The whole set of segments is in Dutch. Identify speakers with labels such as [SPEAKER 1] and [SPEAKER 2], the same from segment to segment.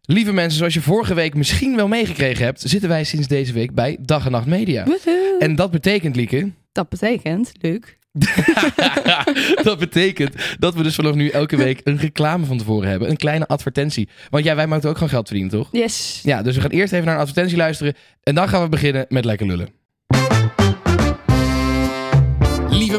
[SPEAKER 1] Lieve mensen, zoals je vorige week misschien wel meegekregen hebt, zitten wij sinds deze week bij Dag en Nacht Media.
[SPEAKER 2] Woehoe.
[SPEAKER 1] En dat betekent, Lieke,
[SPEAKER 2] dat betekent, Luc,
[SPEAKER 1] dat betekent dat we dus vanaf nu elke week een reclame van tevoren hebben. Een kleine advertentie. Want ja, wij moeten ook gewoon geld verdienen, toch?
[SPEAKER 2] yes.
[SPEAKER 1] Ja, dus we gaan eerst even naar een advertentie luisteren. En dan gaan we beginnen met lekker lullen. Lieve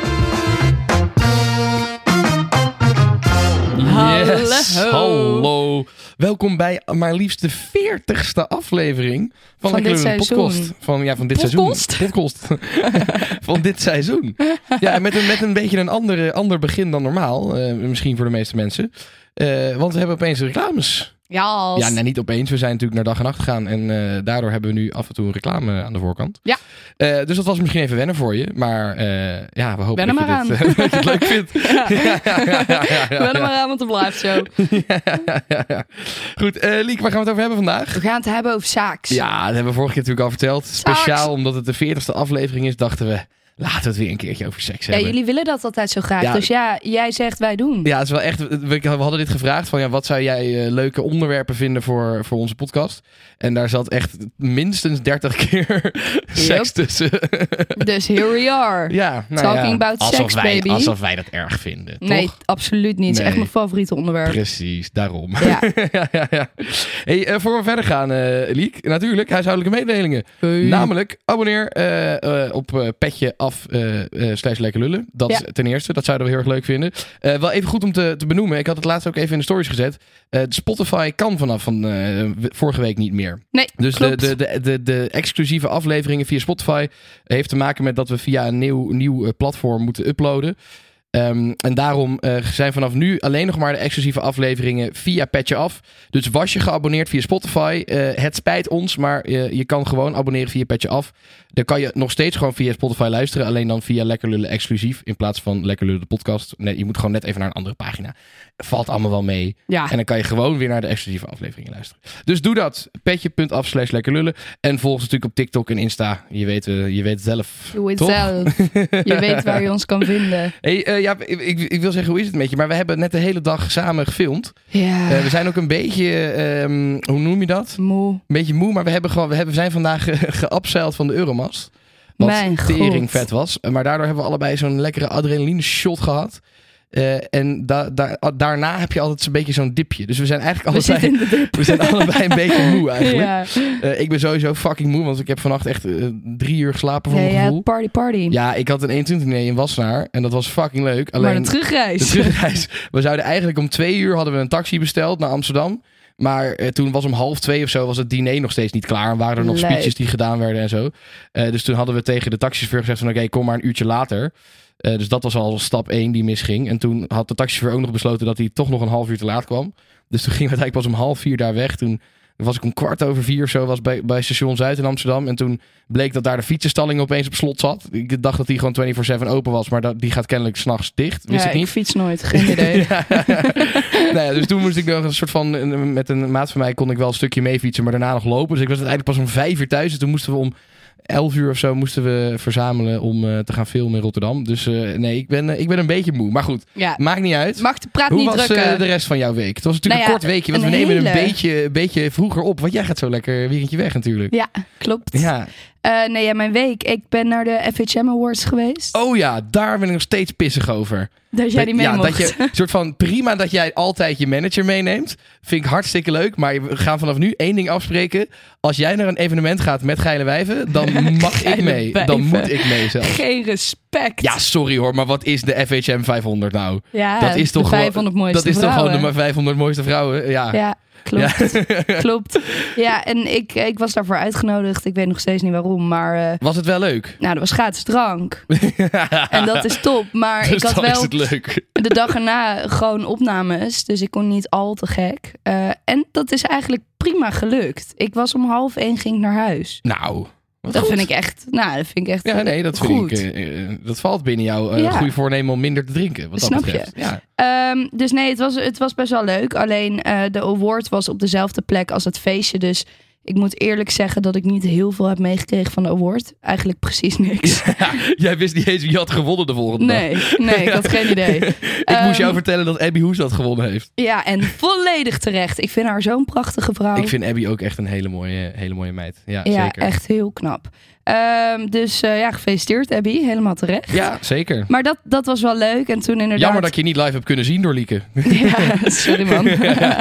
[SPEAKER 1] Yes,
[SPEAKER 2] Hallo.
[SPEAKER 1] hallo. Welkom bij maar liefst de 40ste aflevering
[SPEAKER 2] Van
[SPEAKER 1] van, Lekker
[SPEAKER 2] dit
[SPEAKER 1] Lullen, de
[SPEAKER 2] seizoen.
[SPEAKER 1] podcast. Van, ja, van dit
[SPEAKER 2] Podcast?
[SPEAKER 1] seizoen. Podcast. van dit seizoen. Ja, en met een, met een beetje een andere, ander begin dan normaal. eh, misschien voor de meeste mensen. Eh, want we hebben opeens reclames.
[SPEAKER 2] Ja, als...
[SPEAKER 1] Ja, nou niet opeens. We zijn natuurlijk naar dag en nacht gegaan. En eh, daardoor hebben we nu af en toe een reclame aan de voorkant.
[SPEAKER 2] Ja.
[SPEAKER 1] Eh, dus dat was misschien even wennen voor je. Maar eh, ja, we hopen
[SPEAKER 2] Wen er
[SPEAKER 1] dat,
[SPEAKER 2] maar
[SPEAKER 1] je dit, dat je het leuk vindt. Ja, ja, ja, ja, ja, ja.
[SPEAKER 2] Wel maar aan, want het blijft zo.
[SPEAKER 1] Ja, ja. Goed, eh Liek, waar gaan we het over hebben vandaag?
[SPEAKER 2] We gaan het hebben over zaaks.
[SPEAKER 1] Ja, dat hebben we vorige keer natuurlijk al verteld. Speciaal omdat het de 40ste aflevering is, dachten we, laten we het weer een keertje over seks
[SPEAKER 2] Ja,
[SPEAKER 1] hebben.
[SPEAKER 2] jullie willen dat altijd zo graag.
[SPEAKER 1] Ja.
[SPEAKER 2] Dus ja, jij zegt wij doen.
[SPEAKER 1] Ja, het is wel echt. We we hadden dit gevraagd van ja, wat zou jij eh, leuke onderwerpen vinden voor, voor onze podcast? En daar zat echt minstens 30 keer seks tussen.
[SPEAKER 2] Dus here we are.
[SPEAKER 1] ja, nou
[SPEAKER 2] Talking
[SPEAKER 1] ja.
[SPEAKER 2] about
[SPEAKER 1] alsof
[SPEAKER 2] sex,
[SPEAKER 1] wij,
[SPEAKER 2] baby.
[SPEAKER 1] Alsof wij dat erg vinden.
[SPEAKER 2] nee,
[SPEAKER 1] Toch?
[SPEAKER 2] absoluut niet. Het is
[SPEAKER 1] Nee.
[SPEAKER 2] echt mijn favoriete onderwerp.
[SPEAKER 1] Precies, daarom.
[SPEAKER 2] Ja.
[SPEAKER 1] ja, ja, ja. Hey, eh, voor we verder gaan, eh Liek, natuurlijk huishoudelijke mededelingen. Namelijk, abonneer eh, eh, op eh, petje af eh, eh, slash lekker lullen. Dat
[SPEAKER 2] Ja.
[SPEAKER 1] ten eerste, dat zouden we heel erg leuk vinden. Eh, wel even goed om te, te benoemen, ik had het laatst ook even in de stories gezet. Eh, Spotify kan vanaf van, eh, vorige week niet meer.
[SPEAKER 2] Nee,
[SPEAKER 1] Dus de,
[SPEAKER 2] klopt.
[SPEAKER 1] de, de, de, de exclusieve afleveringen via Spotify heeft te maken met dat we via een nieuw, nieuw eh, platform moeten uploaden. Ehm, en daarom eh, zijn vanaf nu alleen nog maar de exclusieve afleveringen via Petje Af. Dus was je geabonneerd via Spotify, eh, het spijt ons, maar eh, je kan gewoon abonneren via Petje Af. Dan kan je nog steeds gewoon via Spotify luisteren, alleen dan via Lekker Lullen exclusief in plaats van Lekker Lullen de podcast. Nee, je moet gewoon net even naar een andere pagina. Valt allemaal wel mee.
[SPEAKER 2] Ja.
[SPEAKER 1] En dan kan je gewoon weer naar de exclusieve afleveringen luisteren. Dus doe dat. Petje.af slash lekker lullen. En volg ons natuurlijk op TikTok en Insta. Je weet, eh, je weet het zelf.
[SPEAKER 2] Doe het
[SPEAKER 1] Toch?
[SPEAKER 2] zelf. Je weet waar je ons kan vinden.
[SPEAKER 1] Hey, eh, ja, ik, ik, ik wil zeggen, hoe is het met je? Maar we hebben net de hele dag samen gefilmd.
[SPEAKER 2] Ja.
[SPEAKER 1] Eh, we zijn ook een beetje, ehm, hoe noem je dat?
[SPEAKER 2] Moe.
[SPEAKER 1] Een beetje moe, maar we, hebben gewoon, we hebben, zijn vandaag eh, geabseild van de Euromast. Wat
[SPEAKER 2] Mijn
[SPEAKER 1] tering
[SPEAKER 2] god.
[SPEAKER 1] vet was. Eh, Maar daardoor hebben we allebei zo'n lekkere adrenaline shot gehad. Eh, en da- da- daarna heb je altijd zo'n beetje zo'n dipje. Dus we zijn eigenlijk
[SPEAKER 2] We
[SPEAKER 1] allebei...
[SPEAKER 2] zitten in de dip.
[SPEAKER 1] We zijn allebei een beetje moe eigenlijk.
[SPEAKER 2] Ja.
[SPEAKER 1] Eh, ik ben sowieso fucking moe, want ik heb vannacht echt eh, drie uur geslapen voor
[SPEAKER 2] Ja,
[SPEAKER 1] mijn
[SPEAKER 2] ja,
[SPEAKER 1] gevoel.
[SPEAKER 2] party party.
[SPEAKER 1] Ja, ik had een 21 diner in Wassenaar en dat was fucking leuk. Alleen
[SPEAKER 2] maar de
[SPEAKER 1] de
[SPEAKER 2] terugreis.
[SPEAKER 1] terugreis. We zouden eigenlijk om twee uur hadden we een taxi besteld naar Amsterdam. Maar eh, toen was om half twee of zo was het diner nog steeds niet klaar. En waren er nog
[SPEAKER 2] Leuk.
[SPEAKER 1] speeches die gedaan werden en zo. Eh, dus toen hadden we tegen de taxichauffeur gezegd van oké, kom maar een uurtje later. Eh, dus dat was al stap één die misging. En toen had de taxichauffeur ook nog besloten dat hij toch nog een half uur te laat kwam. Dus toen gingen we eigenlijk pas om half vier daar weg. Toen was ik om kwart over vier of zo was bij, bij station Zuid in Amsterdam. En toen bleek dat daar de fietsenstalling opeens op slot zat. Ik dacht dat die gewoon 24-7 open was. Maar dat, die gaat kennelijk s'nachts dicht. Wist
[SPEAKER 2] ja,
[SPEAKER 1] ik niet.
[SPEAKER 2] fiets nooit. Geen idee.
[SPEAKER 1] Ja. nou ja, dus toen moest ik nog een soort van. een- Met een maat van mij kon ik wel een stukje mee fietsen, maar daarna nog lopen. Dus ik was uiteindelijk pas om vijf uur thuis. En toen moesten we om elf uur of zo moesten we verzamelen om eh, te gaan filmen in Rotterdam. Dus eh, nee, ik ben, eh, ik ben een beetje moe. Maar goed,
[SPEAKER 2] Ja.
[SPEAKER 1] maakt niet uit.
[SPEAKER 2] Mag de praat
[SPEAKER 1] Hoe
[SPEAKER 2] niet
[SPEAKER 1] was eh,
[SPEAKER 2] drukken.
[SPEAKER 1] de rest van jouw week? Het was natuurlijk
[SPEAKER 2] Nou
[SPEAKER 1] een
[SPEAKER 2] ja,
[SPEAKER 1] kort weekje, want
[SPEAKER 2] een
[SPEAKER 1] we nemen een
[SPEAKER 2] hele.
[SPEAKER 1] beetje, een beetje vroeger op. Want jij gaat zo lekker een weekendje weg natuurlijk.
[SPEAKER 2] Ja, klopt.
[SPEAKER 1] Ja.
[SPEAKER 2] Eh, nee, ja, mijn week. Ik ben naar de FHM Awards geweest.
[SPEAKER 1] Oh ja, daar ben ik nog steeds pissig over.
[SPEAKER 2] dat jij die mee
[SPEAKER 1] ja,
[SPEAKER 2] mocht.
[SPEAKER 1] dat je soort van prima dat jij altijd je manager meeneemt. Vind ik hartstikke leuk. Maar we gaan vanaf nu één ding afspreken. Als jij naar een evenement gaat met geile wijven, dan mag ik
[SPEAKER 2] Geile
[SPEAKER 1] mee.
[SPEAKER 2] wijven.
[SPEAKER 1] Dan moet ik mee zelf.
[SPEAKER 2] Geen respect.
[SPEAKER 1] Ja, sorry hoor, maar wat is de FHM 500 nou?
[SPEAKER 2] Ja,
[SPEAKER 1] dat is toch
[SPEAKER 2] de
[SPEAKER 1] gewoon-
[SPEAKER 2] 500 mooiste
[SPEAKER 1] Dat is toch gewoon
[SPEAKER 2] vrouwen.
[SPEAKER 1] de maar 500 mooiste vrouwen? Ja.
[SPEAKER 2] Ja, klopt. klopt. Ja, en ik, ik was daarvoor uitgenodigd. Ik weet nog steeds niet waarom, maar... eh,
[SPEAKER 1] Was het wel leuk?
[SPEAKER 2] nou, dat was gratis drank. en dat is top. Maar
[SPEAKER 1] dus
[SPEAKER 2] ik had
[SPEAKER 1] dan is
[SPEAKER 2] wel
[SPEAKER 1] het leuk.
[SPEAKER 2] de dag erna gewoon opnames. Dus ik kon niet al te gek. Eh, en dat is eigenlijk prima gelukt. Ik was om half één ging ik naar huis.
[SPEAKER 1] Nou, Wat
[SPEAKER 2] dat
[SPEAKER 1] goed.
[SPEAKER 2] vind ik echt, nou, dat vind ik echt
[SPEAKER 1] Ja, nee, dat, vind
[SPEAKER 2] goed.
[SPEAKER 1] ik, eh, eh, dat valt binnen jouw eh
[SPEAKER 2] Ja.
[SPEAKER 1] goede voornemen om minder te drinken. Wat dat
[SPEAKER 2] Snap je?
[SPEAKER 1] betreft. Ja.
[SPEAKER 2] Ehm, dus nee, het was, het was best wel leuk. Alleen eh, de award was op dezelfde plek als het feestje. Dus ik moet eerlijk zeggen dat ik niet heel veel heb meegekregen van de award. Eigenlijk precies niks.
[SPEAKER 1] Jij wist niet eens wie had gewonnen de volgende dag.
[SPEAKER 2] Nee, nee, ik had geen idee.
[SPEAKER 1] ik
[SPEAKER 2] Ehm,
[SPEAKER 1] moest jou vertellen dat Abby Hoes dat gewonnen heeft.
[SPEAKER 2] Ja, en volledig terecht. Ik vind haar zo'n prachtige vrouw.
[SPEAKER 1] Ik vind Abby ook echt een hele mooie, hele mooie meid. Ja,
[SPEAKER 2] Oh. ja,
[SPEAKER 1] zeker.
[SPEAKER 2] echt heel knap. Ehm, dus eh, ja, gefeliciteerd Abby. Helemaal terecht.
[SPEAKER 1] Ja, zeker.
[SPEAKER 2] Maar dat, dat was wel leuk. En toen inderdaad...
[SPEAKER 1] Jammer dat ik je niet live hebt kunnen zien door Lieke.
[SPEAKER 2] Ja, sorry man.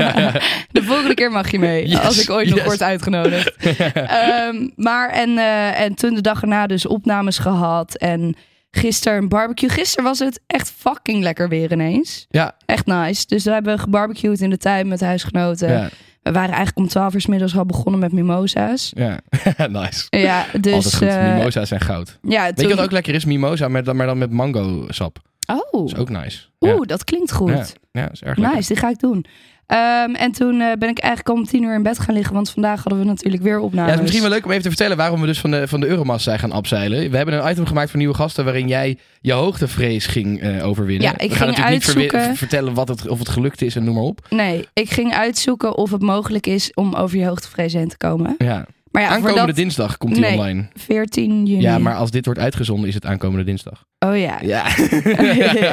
[SPEAKER 2] De volgende keer mag je mee.
[SPEAKER 1] Yes,
[SPEAKER 2] als ik ooit nog
[SPEAKER 1] yes.
[SPEAKER 2] word uitgenodigd. Ehm, maar en, eh, en toen de dag erna dus opnames gehad. En gisteren een barbecue. Gisteren was het echt fucking lekker weer ineens.
[SPEAKER 1] Ja.
[SPEAKER 2] Echt nice. Dus we hebben gebarbecued in de tuin met huisgenoten.
[SPEAKER 1] Ja,
[SPEAKER 2] We waren eigenlijk om 12 uur 's middags al begonnen met mimosa's.
[SPEAKER 1] ja. nice.
[SPEAKER 2] Ja, dus...
[SPEAKER 1] Altijd goed.
[SPEAKER 2] eh,
[SPEAKER 1] Mimosa's zijn goud.
[SPEAKER 2] ja,
[SPEAKER 1] Weet
[SPEAKER 2] toen...
[SPEAKER 1] je wat ook lekker is? Mimosa, met, maar dan met mango sap.
[SPEAKER 2] Oh,
[SPEAKER 1] Dat is ook nice.
[SPEAKER 2] oeh,
[SPEAKER 1] ja.
[SPEAKER 2] dat klinkt goed.
[SPEAKER 1] Ja, ja, dat is erg lekker.
[SPEAKER 2] Nice, die ga ik doen. Ehm, en toen eh, ben ik eigenlijk om tien uur in bed gaan liggen, want vandaag hadden we natuurlijk weer
[SPEAKER 1] Ja,
[SPEAKER 2] opnames.
[SPEAKER 1] het is misschien wel leuk om even te vertellen waarom we dus van de, van de Euromast zijn gaan abzeilen. We hebben een item gemaakt voor nieuwe gasten waarin jij je hoogtevrees ging eh, overwinnen.
[SPEAKER 2] Ja, ik
[SPEAKER 1] we gaan
[SPEAKER 2] ging
[SPEAKER 1] natuurlijk niet verwe-
[SPEAKER 2] uitzoeken-
[SPEAKER 1] vertellen wat het, of het gelukt is en noem maar op.
[SPEAKER 2] Nee, ik ging uitzoeken of het mogelijk is om over je hoogtevrees heen te komen.
[SPEAKER 1] Ja.
[SPEAKER 2] Maar ja, voor
[SPEAKER 1] aankomende
[SPEAKER 2] dat
[SPEAKER 1] dinsdag komt die
[SPEAKER 2] Nee.
[SPEAKER 1] online.
[SPEAKER 2] 14 juni.
[SPEAKER 1] Ja, maar als dit wordt uitgezonden is het aankomende dinsdag.
[SPEAKER 2] Oh ja.
[SPEAKER 1] Ja.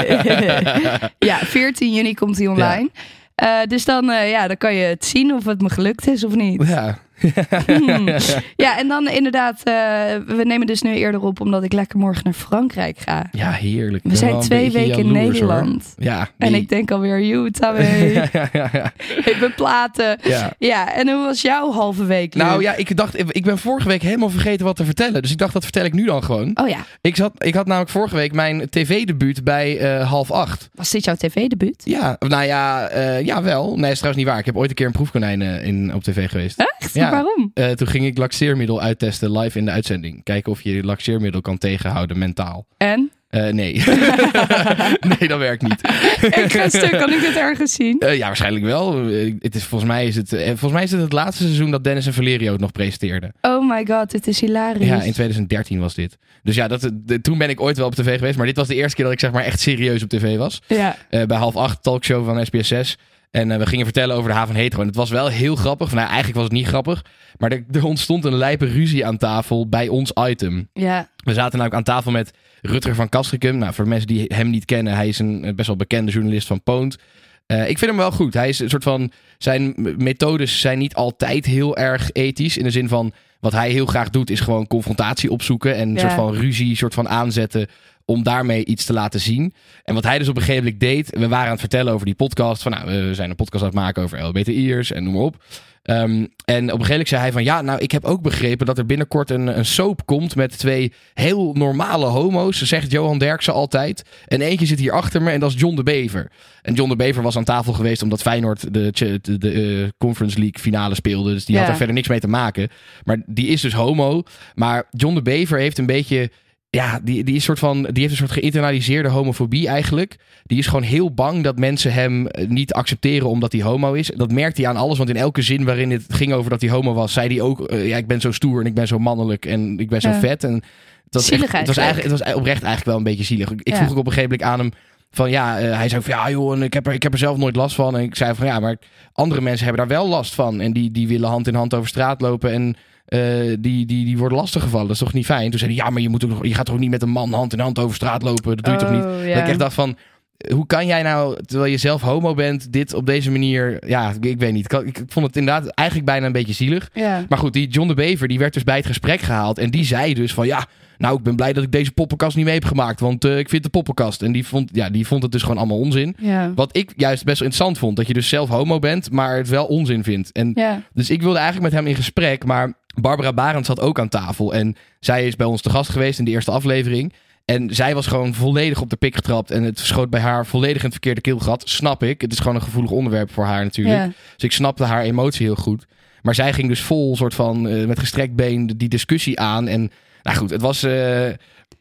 [SPEAKER 2] ja, 14 juni komt die online. Eh, dus dan, eh, ja, dan kan je het zien of het me gelukt is of niet.
[SPEAKER 1] ja.
[SPEAKER 2] Hmm. Ja, en dan inderdaad, eh, we nemen dus nu eerder op omdat ik lekker morgen naar Frankrijk ga.
[SPEAKER 1] Ja, heerlijk. Ik
[SPEAKER 2] We
[SPEAKER 1] ben
[SPEAKER 2] zijn
[SPEAKER 1] wel een
[SPEAKER 2] twee
[SPEAKER 1] beetje
[SPEAKER 2] weken in
[SPEAKER 1] jaloers, hoor.
[SPEAKER 2] Nederland.
[SPEAKER 1] Ja.
[SPEAKER 2] En
[SPEAKER 1] nee.
[SPEAKER 2] ik denk alweer, Utah, mee.
[SPEAKER 1] ja, ja, ja.
[SPEAKER 2] ik ben platen.
[SPEAKER 1] ja.
[SPEAKER 2] Ja, en hoe was jouw halve week? Luc?
[SPEAKER 1] Nou ja, ik dacht, ik ben vorige week helemaal vergeten wat te vertellen. Dus ik dacht, dat vertel ik nu dan gewoon.
[SPEAKER 2] Oh ja,
[SPEAKER 1] Ik, zat, ik had namelijk vorige week mijn tv-debuut bij eh, half acht.
[SPEAKER 2] was dit jouw tv-debuut?
[SPEAKER 1] Ja, nou ja, eh jawel. Nee, is trouwens niet waar. Ik heb ooit een keer een proefkonijn eh, in, op tv geweest.
[SPEAKER 2] Echt?
[SPEAKER 1] Ja.
[SPEAKER 2] Waarom?
[SPEAKER 1] Eh, toen ging ik laxeermiddel uittesten live in de uitzending. Kijken of je laxeermiddel kan tegenhouden mentaal.
[SPEAKER 2] En?
[SPEAKER 1] Eh, nee. nee, dat werkt niet.
[SPEAKER 2] ik ga stuk, kan ik dit ergens zien?
[SPEAKER 1] Eh, ja, waarschijnlijk wel. Eh, het is, volgens, mij is het, eh, volgens mij is het het laatste seizoen dat Dennis en Valerio het nog presenteerden.
[SPEAKER 2] Oh my god, dit is hilarisch.
[SPEAKER 1] Ja, in 2013 was dit. Dus ja, dat, de- toen ben ik ooit wel op tv geweest. Maar dit was de eerste keer dat ik zeg maar echt serieus op tv was.
[SPEAKER 2] Ja.
[SPEAKER 1] Eh, bij half acht talkshow van SBS6. En eh, we gingen vertellen over de haven hetero. En het was wel heel grappig. Nou, eigenlijk was het niet grappig. Maar er, er ontstond een lijpe ruzie aan tafel bij ons item.
[SPEAKER 2] Ja.
[SPEAKER 1] We zaten namelijk aan tafel met Rutger van Kastrikum. Nou, voor de mensen die hem niet kennen. Hij is een eh, best wel bekende journalist van Poont. Eh, ik vind hem wel goed. Hij is een soort van. Zijn methodes zijn niet altijd heel erg ethisch. In de zin van. Wat hij heel graag doet, is gewoon confrontatie opzoeken. En een
[SPEAKER 2] Ja.
[SPEAKER 1] soort van ruzie, soort van aanzetten. Om daarmee iets te laten zien. En wat hij dus op een gegeven moment deed. We waren aan het vertellen over die podcast. Van nou, we zijn een podcast aan het maken over LBTI'ers en noem maar op. Ehm, en op een gegeven moment zei hij van ja, nou ik heb ook begrepen dat er binnenkort een, een soap komt met twee heel normale homo's, zegt Johan Derksen altijd. En eentje zit hier achter me en dat is John de Bever. En John de Bever was aan tafel geweest omdat Feyenoord de, ch- de, de, eh, Conference League finale speelde. Dus die
[SPEAKER 2] Ja.
[SPEAKER 1] had daar verder niks mee te maken. Maar die is dus homo. Maar John de Bever heeft een beetje. Ja, die, die, is soort van, die heeft een soort geïnternaliseerde homofobie eigenlijk. Die is gewoon heel bang dat mensen hem eh, niet accepteren omdat hij homo is. Dat merkt hij aan alles, want in elke zin waarin het ging over dat hij homo was, zei hij ook: eh, Ja, ik ben zo stoer en ik ben zo mannelijk en ik ben zo
[SPEAKER 2] Ja.
[SPEAKER 1] vet. En het was,
[SPEAKER 2] Zielig
[SPEAKER 1] echt- het was
[SPEAKER 2] eigenlijk.
[SPEAKER 1] eigenlijk. Het was oprecht eigenlijk wel een beetje zielig. Ik ik
[SPEAKER 2] Ja.
[SPEAKER 1] vroeg ook op een gegeven moment aan hem van ja, eh, hij zei van ja joh, en ik heb, er, ik heb er zelf nooit last van. En ik zei van ja, maar andere mensen hebben daar wel last van. En die, die willen hand in hand over straat lopen en eh, die, die, die worden lastiggevallen. Dat is toch niet fijn? Toen zei hij ja, maar je, moet ook, nog- je gaat toch ook niet met een man hand in hand over straat lopen? Dat doe je toch niet?
[SPEAKER 2] Oh,
[SPEAKER 1] Dat ik
[SPEAKER 2] ja.
[SPEAKER 1] echt dacht van, hoe kan jij nou, terwijl je zelf homo bent, dit op deze manier... Ja, ik, ik weet niet. Ik, had- ik vond het inderdaad eigenlijk bijna een beetje zielig.
[SPEAKER 2] Ja.
[SPEAKER 1] Maar goed, die John de Bever, die werd dus bij het gesprek gehaald. En die zei dus van, ja, nou, ik ben blij dat ik deze poppenkast niet mee heb gemaakt. Want eh, ik vind de poppenkast. En die vond, ja, die vond het dus gewoon allemaal onzin.
[SPEAKER 2] Ja.
[SPEAKER 1] Wat ik juist best wel interessant vond. Dat je dus zelf homo bent, maar het wel onzin vindt. En
[SPEAKER 2] Ja.
[SPEAKER 1] dus ik wilde eigenlijk met hem in gesprek, maar Barbara Barend zat ook aan tafel. En zij is bij ons te gast geweest in de eerste aflevering. En zij was gewoon volledig op de pik getrapt. En het schoot bij haar volledig in het verkeerde keelgat. Snap ik. Het is gewoon een gevoelig onderwerp voor haar natuurlijk.
[SPEAKER 2] Ja.
[SPEAKER 1] Dus ik snapte haar emotie heel goed. Maar zij ging dus vol, soort van, eh, met gestrekt been die discussie aan. En nou goed, het was... eh,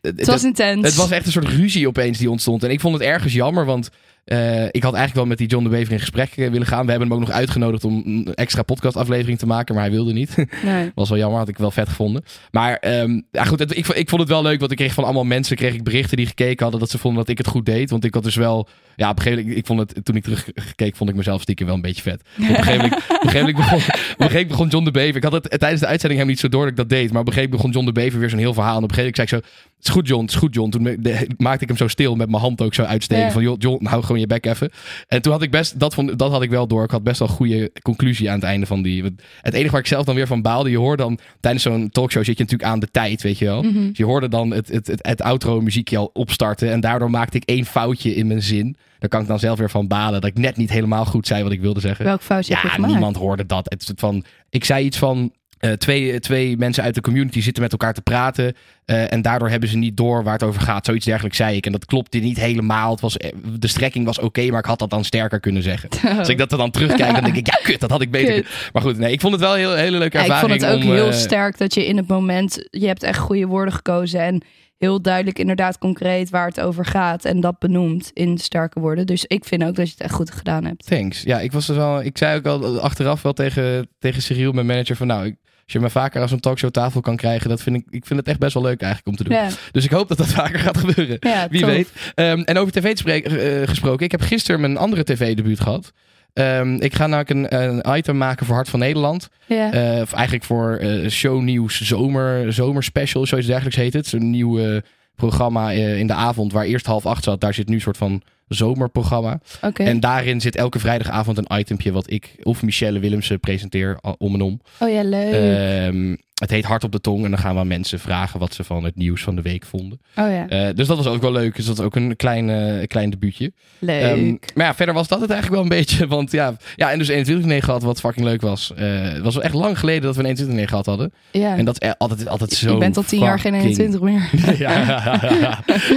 [SPEAKER 2] Het was intens.
[SPEAKER 1] het was echt een soort ruzie opeens die ontstond. En ik vond het ergens jammer, want Eh, ik had eigenlijk wel met die John de Bever in gesprek eh, willen gaan. We hebben hem ook nog uitgenodigd om een extra podcastaflevering te maken, maar hij wilde niet.
[SPEAKER 2] Nee.
[SPEAKER 1] Was wel jammer, had ik wel vet gevonden. Maar ehm, ja, goed, het- ik, vo- ik vond het wel leuk, want ik kreeg van allemaal mensen kreeg ik berichten die gekeken hadden dat ze vonden dat ik het goed deed. Want ik had dus wel, ja, op een gegeven moment, ik vond het, toen ik terugkeek, vond ik mezelf stiekem wel een beetje vet. Want Op een gegeven moment, op een gegeven moment begon, op een gegeven moment begon John de Bever, ik had het eh, tijdens de uitzending hem niet zo door dat ik dat deed, maar op een gegeven moment begon John de Bever weer zo'n heel verhaal. En op een gegeven moment zei ik zo, het is goed John, het is goed John. Toen me- de- maakte ik hem zo stil met mijn hand ook zo uitsteken
[SPEAKER 2] Ja.
[SPEAKER 1] van, joh, John, hou gewoon je bek even. En toen had ik best, dat, vond, dat had ik wel door. Ik had best wel een goede conclusie aan het einde van die. want Het enige waar ik zelf dan weer van baalde, je hoorde dan tijdens zo'n talkshow zit je natuurlijk aan de tijd, weet je wel.
[SPEAKER 2] Mhm.
[SPEAKER 1] Dus je hoorde dan het, het, het, het outro muziekje al opstarten en daardoor maakte ik één foutje in mijn zin. Daar kan ik dan zelf weer van balen dat ik net niet helemaal goed zei wat ik wilde zeggen.
[SPEAKER 2] Welk fout heb je
[SPEAKER 1] Ja,
[SPEAKER 2] gemaakt?
[SPEAKER 1] niemand hoorde dat. Het soort van, ik zei iets van. eh, twee, twee mensen uit de community zitten met elkaar te praten. eh, en daardoor hebben ze niet door waar het over gaat. Zoiets dergelijks zei ik. En dat klopte niet helemaal. Het was, eh, de strekking was oké, maar ik had dat dan sterker kunnen zeggen. Als ik dat er dan terugkijk, dan denk ik, ja, kut, dat had ik beter.
[SPEAKER 2] Kut.
[SPEAKER 1] kunnen- Maar goed, nee, ik vond het wel een heel, hele leuke
[SPEAKER 2] Ja, ik
[SPEAKER 1] ervaring.
[SPEAKER 2] vond het ook
[SPEAKER 1] om,
[SPEAKER 2] heel
[SPEAKER 1] eh,
[SPEAKER 2] sterk dat je in het moment, je hebt echt goede woorden gekozen en heel duidelijk inderdaad concreet waar het over gaat en dat benoemd in sterke woorden. Dus ik vind ook dat je het echt goed gedaan hebt.
[SPEAKER 1] Thanks. Ja, ik was dus wel. Ik zei ook al achteraf wel tegen, tegen Cyril, mijn manager, van nou, ik- als je me vaker als een talkshow tafel kan krijgen, dat vind ik, ik vind het echt best wel leuk eigenlijk om te doen.
[SPEAKER 2] Ja,
[SPEAKER 1] Dus ik hoop dat dat vaker gaat gebeuren.
[SPEAKER 2] ja
[SPEAKER 1] Wie
[SPEAKER 2] tof.
[SPEAKER 1] weet. Ehm, en over tv spreek- eh, gesproken. Ik heb gisteren mijn andere tv-debuut gehad. Ehm, ik ga namelijk een, een item maken voor Hart van Nederland.
[SPEAKER 2] Ja.
[SPEAKER 1] Eh, of eigenlijk voor eh, shownieuws zomer, zomerspecial, zoiets dergelijks heet het. Zo'n nieuw eh, programma eh, in de avond waar eerst half acht zat. Daar zit nu een soort van zomerprogramma.
[SPEAKER 2] Oké.
[SPEAKER 1] En daarin zit elke vrijdagavond een itempje wat ik of Michelle Willemsen presenteer al- om en om.
[SPEAKER 2] Oh ja, leuk.
[SPEAKER 1] Ehm, het heet Hart op de Tong en dan gaan we aan mensen vragen wat ze van het nieuws van de week vonden.
[SPEAKER 2] oh ja,
[SPEAKER 1] Eh, dus dat was ook wel leuk. Dus dat is ook een klein, eh, klein debuutje.
[SPEAKER 2] leuk.
[SPEAKER 1] Ehm, maar ja, verder was dat het eigenlijk wel een beetje. Want ja, ja en dus 21 negen gehad, wat fucking leuk was. Eh, het was wel echt lang geleden dat we een 21 negen gehad hadden.
[SPEAKER 2] ja.
[SPEAKER 1] En dat is e- altijd, altijd zo.
[SPEAKER 2] je bent al tien jaar geen
[SPEAKER 1] fucking-
[SPEAKER 2] 21 meer.
[SPEAKER 1] ja.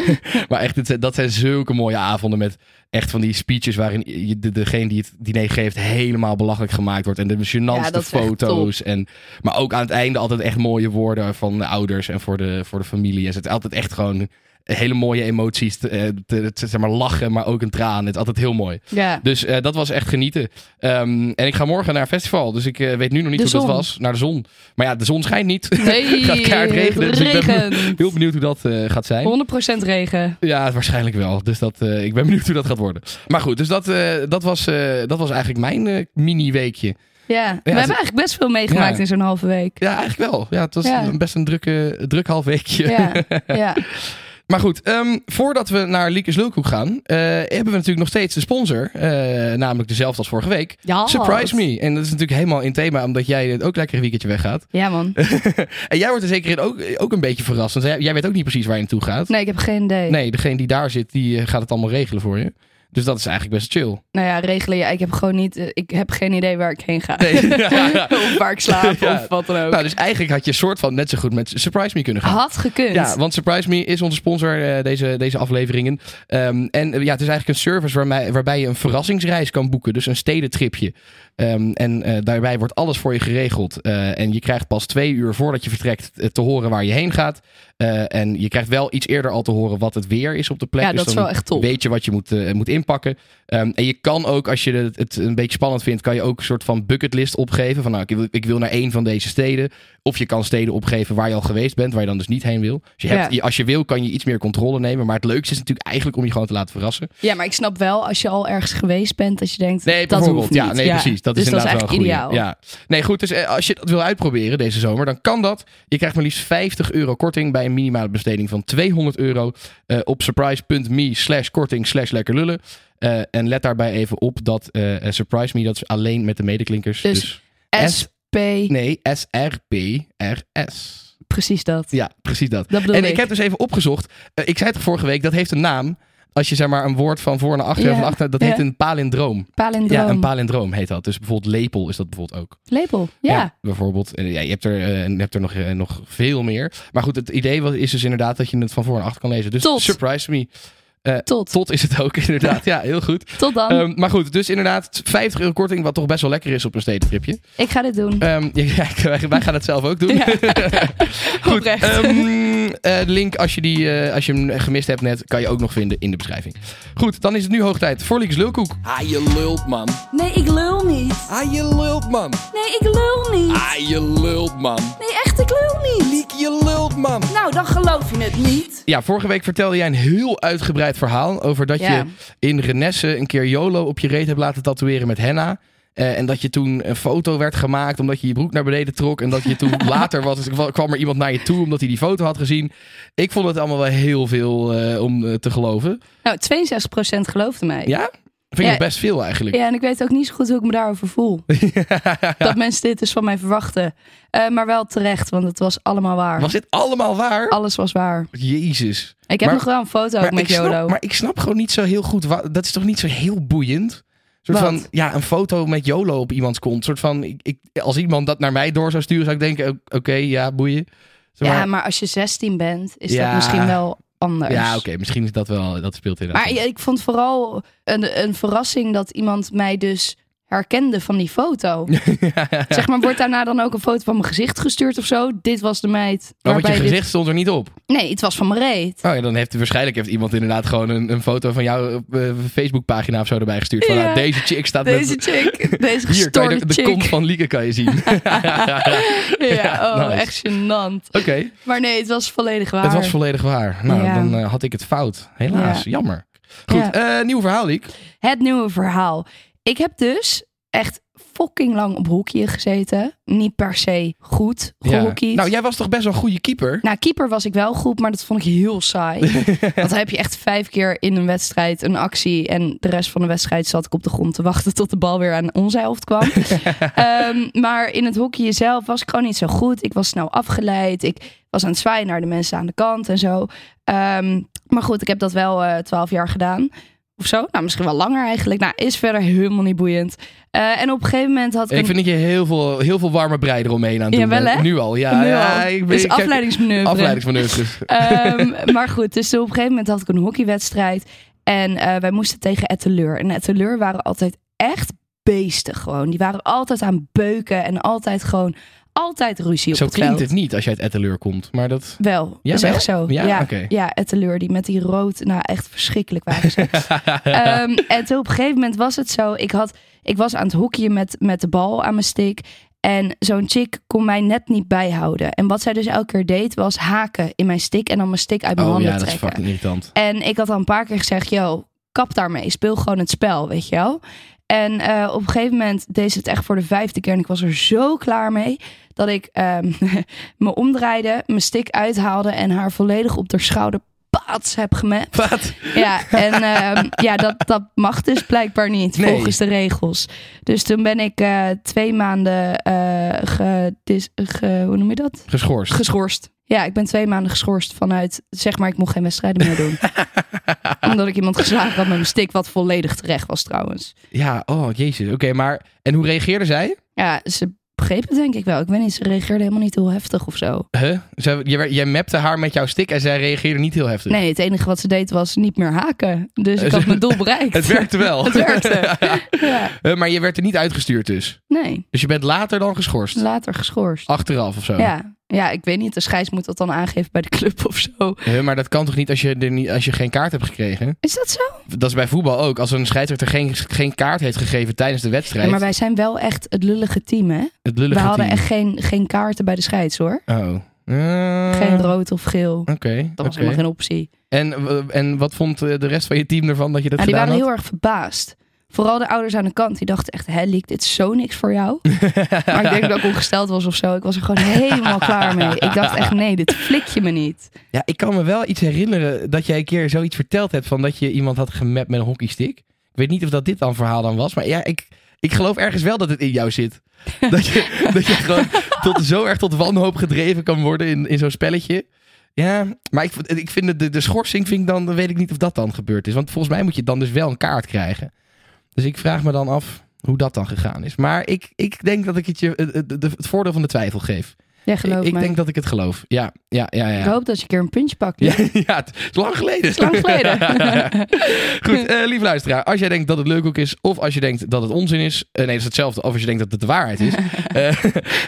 [SPEAKER 1] maar echt, het zijn- dat zijn zulke mooie avonden met echt van die speeches waarin je, de, degene die het diner geeft helemaal belachelijk gemaakt wordt. En de
[SPEAKER 2] Ja,
[SPEAKER 1] gênantste
[SPEAKER 2] dat is echt
[SPEAKER 1] foto's. En, maar ook aan het einde altijd echt mooie woorden van de ouders en voor de, voor de familie. En het is altijd echt gewoon hele mooie emoties. Te, eh, te- te- zeg maar lachen, maar ook een traan. Het is altijd heel mooi.
[SPEAKER 2] Ja.
[SPEAKER 1] Dus eh, dat was echt genieten. Ehm, en ik ga morgen naar een festival. Dus ik eh, weet nu nog niet
[SPEAKER 2] De
[SPEAKER 1] hoe dat
[SPEAKER 2] zon.
[SPEAKER 1] was. Naar de zon. Maar ja, de zon schijnt niet.
[SPEAKER 2] Nee,
[SPEAKER 1] Het gaat keihard regenen, dus ik ben-
[SPEAKER 2] regent.
[SPEAKER 1] Heel benieuwd hoe dat eh, gaat zijn.
[SPEAKER 2] 100% regen.
[SPEAKER 1] Ja, waarschijnlijk wel. Dus dat, eh, ik ben benieuwd hoe dat gaat worden. Maar goed, dus dat, eh, dat, was, eh, dat was eigenlijk mijn eh, mini-weekje.
[SPEAKER 2] Ja, we hebben
[SPEAKER 1] ze-
[SPEAKER 2] eigenlijk best veel meegemaakt
[SPEAKER 1] Ja.
[SPEAKER 2] in zo'n halve week.
[SPEAKER 1] Ja, eigenlijk wel. Ja, het was
[SPEAKER 2] Ja.
[SPEAKER 1] best een drukke, druk half weekje.
[SPEAKER 2] Ja, ja.
[SPEAKER 1] Maar goed, ehm, voordat we naar Liekes Lulkoek gaan, eh, hebben we natuurlijk nog steeds de sponsor. eh, namelijk dezelfde als vorige week.
[SPEAKER 2] ja.
[SPEAKER 1] Surprise me. En dat is natuurlijk helemaal in thema, omdat jij het ook lekker een weekendje weggaat.
[SPEAKER 2] Ja, man.
[SPEAKER 1] En jij wordt er zeker in ook, ook een beetje verrast. Want jij, jij weet ook niet precies waar je naartoe gaat.
[SPEAKER 2] Nee, ik heb geen idee.
[SPEAKER 1] Nee, degene die daar zit, die eh, gaat het allemaal regelen voor je. Dus dat is eigenlijk best chill.
[SPEAKER 2] Nou ja, regelen. Ja, ik heb gewoon niet. eh, Ik heb geen idee waar ik heen ga.
[SPEAKER 1] Nee.
[SPEAKER 2] of waar ik slaap
[SPEAKER 1] Ja.
[SPEAKER 2] of wat dan ook.
[SPEAKER 1] Nou, dus eigenlijk had je soort van net zo goed met Surprise Me kunnen gaan.
[SPEAKER 2] Had gekund.
[SPEAKER 1] Ja, want Surprise Me is onze sponsor eh, deze, deze afleveringen. Ehm, en eh, ja, het is eigenlijk een service waarmee, waarbij je een verrassingsreis kan boeken. Dus een stedentripje. Ehm, en eh, daarbij wordt alles voor je geregeld. Eh, en je krijgt pas twee uur voordat je vertrekt eh, te horen waar je heen gaat. Eh, en je krijgt wel iets eerder al te horen wat het weer is op de plek.
[SPEAKER 2] Ja,
[SPEAKER 1] Dus
[SPEAKER 2] dat is
[SPEAKER 1] dan
[SPEAKER 2] wel echt top.
[SPEAKER 1] Weet je wat je moet, eh, moet inpakken. Ehm, en je kan ook, als je het, het een beetje spannend vindt, kan je ook een soort van bucketlist opgeven. Van nou, ik wil, ik wil naar één van deze steden. Of je kan steden opgeven waar je al geweest bent, waar je dan dus niet heen wil. Dus je hebt,
[SPEAKER 2] Ja.
[SPEAKER 1] je- als je wil, kan je iets meer controle nemen. Maar het leukste is natuurlijk eigenlijk om je gewoon te laten verrassen.
[SPEAKER 2] Ja, maar ik snap wel als je al ergens geweest bent dat je denkt.
[SPEAKER 1] Nee,
[SPEAKER 2] dat
[SPEAKER 1] bijvoorbeeld.
[SPEAKER 2] hoeft niet.
[SPEAKER 1] Ja, nee, precies. Dat
[SPEAKER 2] dus
[SPEAKER 1] is
[SPEAKER 2] dat is
[SPEAKER 1] inderdaad
[SPEAKER 2] eigenlijk
[SPEAKER 1] wel een
[SPEAKER 2] ideaal.
[SPEAKER 1] goeie. Ja. Nee, goed. Dus eh, als je dat wil uitproberen deze zomer, dan kan dat. Je krijgt maar liefst 50 euro korting bij een minimale besteding van 200 euro eh, op surprise.me slash korting slash lekker lullen. Eh, en let daarbij even op dat eh, eh, Surprise Me, dat is alleen met de medeklinkers. Dus,
[SPEAKER 2] Dus- SP,
[SPEAKER 1] nee, S-R-P-R-S.
[SPEAKER 2] precies dat.
[SPEAKER 1] Ja, precies dat.
[SPEAKER 2] Dat bedoel
[SPEAKER 1] En
[SPEAKER 2] ik.
[SPEAKER 1] ik heb dus even opgezocht. eh, ik zei het vorige week, dat heeft een naam. Als je zeg maar een woord van voor naar achter en
[SPEAKER 2] Ja,
[SPEAKER 1] van achter, dat
[SPEAKER 2] ja.
[SPEAKER 1] heet een palindroom.
[SPEAKER 2] Palindroom.
[SPEAKER 1] Ja, een palindroom heet dat. Dus bijvoorbeeld lepel is dat bijvoorbeeld ook.
[SPEAKER 2] Lepel. Ja.
[SPEAKER 1] bijvoorbeeld. Eh, Ja, je hebt er, eh, je hebt er nog, eh, nog veel meer. Maar goed, het idee wat- is dus inderdaad dat je het van voor en achter kan lezen. Dus
[SPEAKER 2] Tot.
[SPEAKER 1] surprise me.
[SPEAKER 2] Tot.
[SPEAKER 1] Tot is het ook, inderdaad. Ja, heel goed.
[SPEAKER 2] Tot dan.
[SPEAKER 1] Ehm, maar goed, dus inderdaad 50 euro korting, wat toch best wel lekker is op een stedentripje.
[SPEAKER 2] ik ga dit doen.
[SPEAKER 1] Ehm, ja, ja, wij, wij gaan het zelf ook doen.
[SPEAKER 2] Ja.
[SPEAKER 1] Goed,
[SPEAKER 2] Oprecht.
[SPEAKER 1] ehm, eh, de link als je, die, eh, als je hem gemist hebt net, kan je ook nog vinden in de beschrijving. Goed, dan is het nu hoog tijd voor Links Lulkoek.
[SPEAKER 3] Ah, je lult, man.
[SPEAKER 4] Nee, ik lul niet.
[SPEAKER 3] Ah, je lult, man.
[SPEAKER 4] Nee, ik lul niet.
[SPEAKER 3] Ah, je lult, man.
[SPEAKER 4] Nee, echt, ik lul niet.
[SPEAKER 3] Liek, je lult, man.
[SPEAKER 4] Nou, dan geloof je het niet.
[SPEAKER 1] Ja, vorige week vertelde jij een heel uitgebreid verhaal over dat
[SPEAKER 2] Ja.
[SPEAKER 1] je in Renesse een keer YOLO op je reet hebt laten tatoeëren met henna. Eh, en dat je toen een foto werd gemaakt omdat je je broek naar beneden trok. En dat je toen later was, dus kwam er iemand naar je toe omdat hij die foto had gezien. Ik vond het allemaal wel heel veel eh, om eh, te geloven.
[SPEAKER 2] Nou, 62% geloofde mij.
[SPEAKER 1] Ja? Vind ik
[SPEAKER 2] Ja.
[SPEAKER 1] nog best veel eigenlijk.
[SPEAKER 2] Ja, en ik weet ook niet zo goed hoe ik me daarover voel. Dat mensen dit dus van mij verwachten. Eh, maar wel terecht, want het was allemaal waar.
[SPEAKER 1] Was dit allemaal waar?
[SPEAKER 2] Alles was waar.
[SPEAKER 1] Jezus.
[SPEAKER 2] Ik heb
[SPEAKER 1] Maar-
[SPEAKER 2] nog wel een foto ook
[SPEAKER 1] ik
[SPEAKER 2] met
[SPEAKER 1] snap,
[SPEAKER 2] YOLO.
[SPEAKER 1] maar ik snap gewoon niet zo heel goed. wa- Dat is toch niet zo heel boeiend? Een soort
[SPEAKER 2] Wat?
[SPEAKER 1] van, ja, een foto met YOLO op iemands kont. Een soort van, ik, ik, als iemand dat naar mij door zou sturen, zou ik denken, o- oké, ja, boeien. Zeg
[SPEAKER 2] ja,
[SPEAKER 1] maar-
[SPEAKER 2] maar als je 16 bent, is
[SPEAKER 1] Ja.
[SPEAKER 2] dat misschien wel anders.
[SPEAKER 1] ja, oké, misschien is dat wel, dat speelt inderdaad.
[SPEAKER 2] Maar ja, ik vond vooral een, een verrassing dat iemand mij dus herkende van die foto. Zeg maar, wordt daarna dan ook een foto van mijn gezicht gestuurd of zo? Dit was de meid.
[SPEAKER 1] maar want Oh, je
[SPEAKER 2] waarbij dit-
[SPEAKER 1] gezicht stond er niet op.
[SPEAKER 2] Nee, het was van mijn reet.
[SPEAKER 1] Oh ja, dan heeft waarschijnlijk heeft iemand inderdaad gewoon een, een foto van jouw eh, Facebookpagina of zo erbij gestuurd. Van,
[SPEAKER 2] Ja.
[SPEAKER 1] nou, deze chick staat
[SPEAKER 2] Deze
[SPEAKER 1] met...
[SPEAKER 2] chick, deze
[SPEAKER 1] Hier, kan je
[SPEAKER 2] gestoorde
[SPEAKER 1] de, de kont
[SPEAKER 2] chick.
[SPEAKER 1] van Lieke kan je zien.
[SPEAKER 2] Ja,
[SPEAKER 1] Ja,
[SPEAKER 2] oh,
[SPEAKER 1] nice.
[SPEAKER 2] echt gênant.
[SPEAKER 1] Oké,
[SPEAKER 2] Maar nee, het was volledig waar.
[SPEAKER 1] het was volledig waar. Nou,
[SPEAKER 2] Ja.
[SPEAKER 1] dan eh, had ik het fout. Helaas, jammer. Goed, eh, nieuw verhaal, Liek.
[SPEAKER 2] Het nieuwe verhaal. Ik heb dus echt fucking lang op hoekje gezeten. Niet per se goed gehockeyd.
[SPEAKER 1] Nou, jij was toch best wel een goede keeper?
[SPEAKER 2] Nou, keeper was ik wel goed, maar dat vond ik heel saai. Want dan heb je echt vijf keer in een wedstrijd een actie. En de rest van de wedstrijd zat ik op de grond te wachten tot de bal weer aan onze helft kwam. Ehm, maar in het hockey zelf was ik gewoon niet zo goed. Ik was snel afgeleid. Ik was aan het zwaaien naar de mensen aan de kant en zo. Ehm, maar goed, ik heb dat wel eh, twaalf jaar gedaan. Of zo. Nou, misschien wel langer eigenlijk. Nou, is verder helemaal niet boeiend. Eh, en op een gegeven moment had ik...
[SPEAKER 1] Ik
[SPEAKER 2] een-
[SPEAKER 1] vind dat je heel veel, heel veel warme brei eromheen aan het
[SPEAKER 2] Ja,
[SPEAKER 1] doen
[SPEAKER 2] wel,
[SPEAKER 1] bent.
[SPEAKER 2] hè?
[SPEAKER 1] Nu al, ja.
[SPEAKER 2] nu
[SPEAKER 1] ja,
[SPEAKER 2] al.
[SPEAKER 1] ik ben-
[SPEAKER 2] Dus
[SPEAKER 1] ik heb-
[SPEAKER 2] afleidingsmanoeuvre.
[SPEAKER 1] afleidingsmanoeuvres.
[SPEAKER 2] Ehm, maar goed, dus op een gegeven moment had ik een hockeywedstrijd. En eh, wij moesten tegen Etteleur. En Etteleur waren altijd echt beesten gewoon. Die waren altijd aan beuken en altijd gewoon... Altijd ruzie op
[SPEAKER 1] Zo
[SPEAKER 2] het
[SPEAKER 1] klinkt
[SPEAKER 2] veld.
[SPEAKER 1] het niet als je uit Etteleur komt. Maar dat...
[SPEAKER 2] Wel,
[SPEAKER 1] Ja,
[SPEAKER 2] dat is
[SPEAKER 1] wel?
[SPEAKER 2] echt zo.
[SPEAKER 1] Ja?
[SPEAKER 2] ja,
[SPEAKER 1] Oké.
[SPEAKER 2] ja, Etteleur, die met die rood, nou echt verschrikkelijk waren ze. Ehm, en toen op een gegeven moment was het zo, ik, had, ik was aan het hockeyen met, met de bal aan mijn stick. En zo'n chick kon mij net niet bijhouden. En wat zij dus elke keer deed, was haken in mijn stick en dan mijn stick uit mijn
[SPEAKER 1] Oh
[SPEAKER 2] handen
[SPEAKER 1] ja, dat is
[SPEAKER 2] trekken.
[SPEAKER 1] fucking irritant.
[SPEAKER 2] En ik had al een paar keer gezegd, yo, kap daarmee. Speel gewoon het spel, weet je wel. En eh, op een gegeven moment deed ze het echt voor de vijfde keer. En ik was er zo klaar mee dat ik ehm, me omdraaide, mijn stick uithaalde... en haar volledig op haar schouder paats heb gemapt.
[SPEAKER 1] Wat?
[SPEAKER 2] Ja, en ehm, ja, dat, dat mag dus blijkbaar niet
[SPEAKER 1] Nee.
[SPEAKER 2] volgens de regels. Dus toen ben ik eh, twee maanden eh gedis- ge- hoe noem je dat?
[SPEAKER 1] Geschorst.
[SPEAKER 2] Geschorst. Ja, ik ben twee maanden geschorst vanuit, zeg maar, ik mocht geen wedstrijden meer doen. Omdat ik iemand geslagen had met mijn stick, wat volledig terecht was trouwens.
[SPEAKER 1] ja, oh jezus. Oké, maar... En hoe reageerde zij?
[SPEAKER 2] Ja, ze begreep het denk ik wel. Ik weet niet, ze reageerde helemaal niet heel heftig of zo.
[SPEAKER 1] Huh? Zij, jij, werd- jij mapte haar met jouw stick en zij reageerde niet heel heftig.
[SPEAKER 2] Nee, het enige wat ze deed was niet meer haken. Dus ik had mijn doel bereikt.
[SPEAKER 1] Het werkte wel.
[SPEAKER 2] Het werkte. Ja.
[SPEAKER 1] Eh, maar je werd er niet uitgestuurd dus.
[SPEAKER 2] Nee,
[SPEAKER 1] Dus je bent later dan geschorst.
[SPEAKER 2] later geschorst.
[SPEAKER 1] Achteraf of zo.
[SPEAKER 2] Ja. ja, ik weet niet. De scheids moet dat dan aangeven bij de club of zo.
[SPEAKER 1] Huh, maar dat kan toch niet als, je er niet als je geen kaart hebt gekregen?
[SPEAKER 2] Is dat zo?
[SPEAKER 1] Dat is bij voetbal ook. Als een scheidsrechter geen, geen kaart heeft gegeven tijdens de wedstrijd.
[SPEAKER 2] maar wij zijn wel echt het lullige team, hè?
[SPEAKER 1] het lullige
[SPEAKER 2] we hadden
[SPEAKER 1] team.
[SPEAKER 2] echt geen, geen kaarten bij de scheids, hoor.
[SPEAKER 1] Oh. Eh,
[SPEAKER 2] Geen
[SPEAKER 1] Oké.
[SPEAKER 2] rood of geel. Dat was
[SPEAKER 1] oké.
[SPEAKER 2] helemaal geen optie.
[SPEAKER 1] en, eh, en wat vond eh, de rest van je team ervan dat je dat
[SPEAKER 2] Nou, die
[SPEAKER 1] gedaan
[SPEAKER 2] waren
[SPEAKER 1] had?
[SPEAKER 2] heel erg verbaasd. Vooral de ouders aan de kant. Die dachten echt, hè, Liek, dit is zo niks voor jou. maar ik denk dat ik ongesteld was of zo. Ik was er gewoon helemaal klaar mee. Ik dacht echt, nee, dit flik je me niet.
[SPEAKER 1] Ja, ik kan me wel iets herinneren dat jij een keer zoiets verteld hebt van dat je iemand had gemapt met een hockeystick. Ik weet niet of dat dit dan verhaal dan was, maar ja, ik, ik geloof ergens wel dat het in jou zit. Dat je, dat je gewoon tot, zo erg tot wanhoop gedreven kan worden in, in zo'n spelletje. Ja, maar ik, ik vind het- de, de schorsing vind ik dan, dan weet ik niet of dat dan gebeurd is. Want volgens mij moet je dan dus wel een kaart krijgen. Dus ik vraag me dan af hoe dat dan gegaan is. Maar ik, ik denk dat ik het je het, het, het voordeel van de twijfel geef.
[SPEAKER 2] Jij gelooft
[SPEAKER 1] ik
[SPEAKER 2] me.
[SPEAKER 1] denk dat ik het geloof. Ja, ja, ja. ja.
[SPEAKER 2] Ik hoop dat je een keer een puntje pakt.
[SPEAKER 1] Ja, ja, het is lang geleden.
[SPEAKER 2] is lang geleden.
[SPEAKER 1] Goed, eh lieve luisteraar. Als jij denkt dat het leuk ook is, of als je denkt dat het onzin is. eh, nee, dat is hetzelfde. Of als je denkt dat het de waarheid is. eh,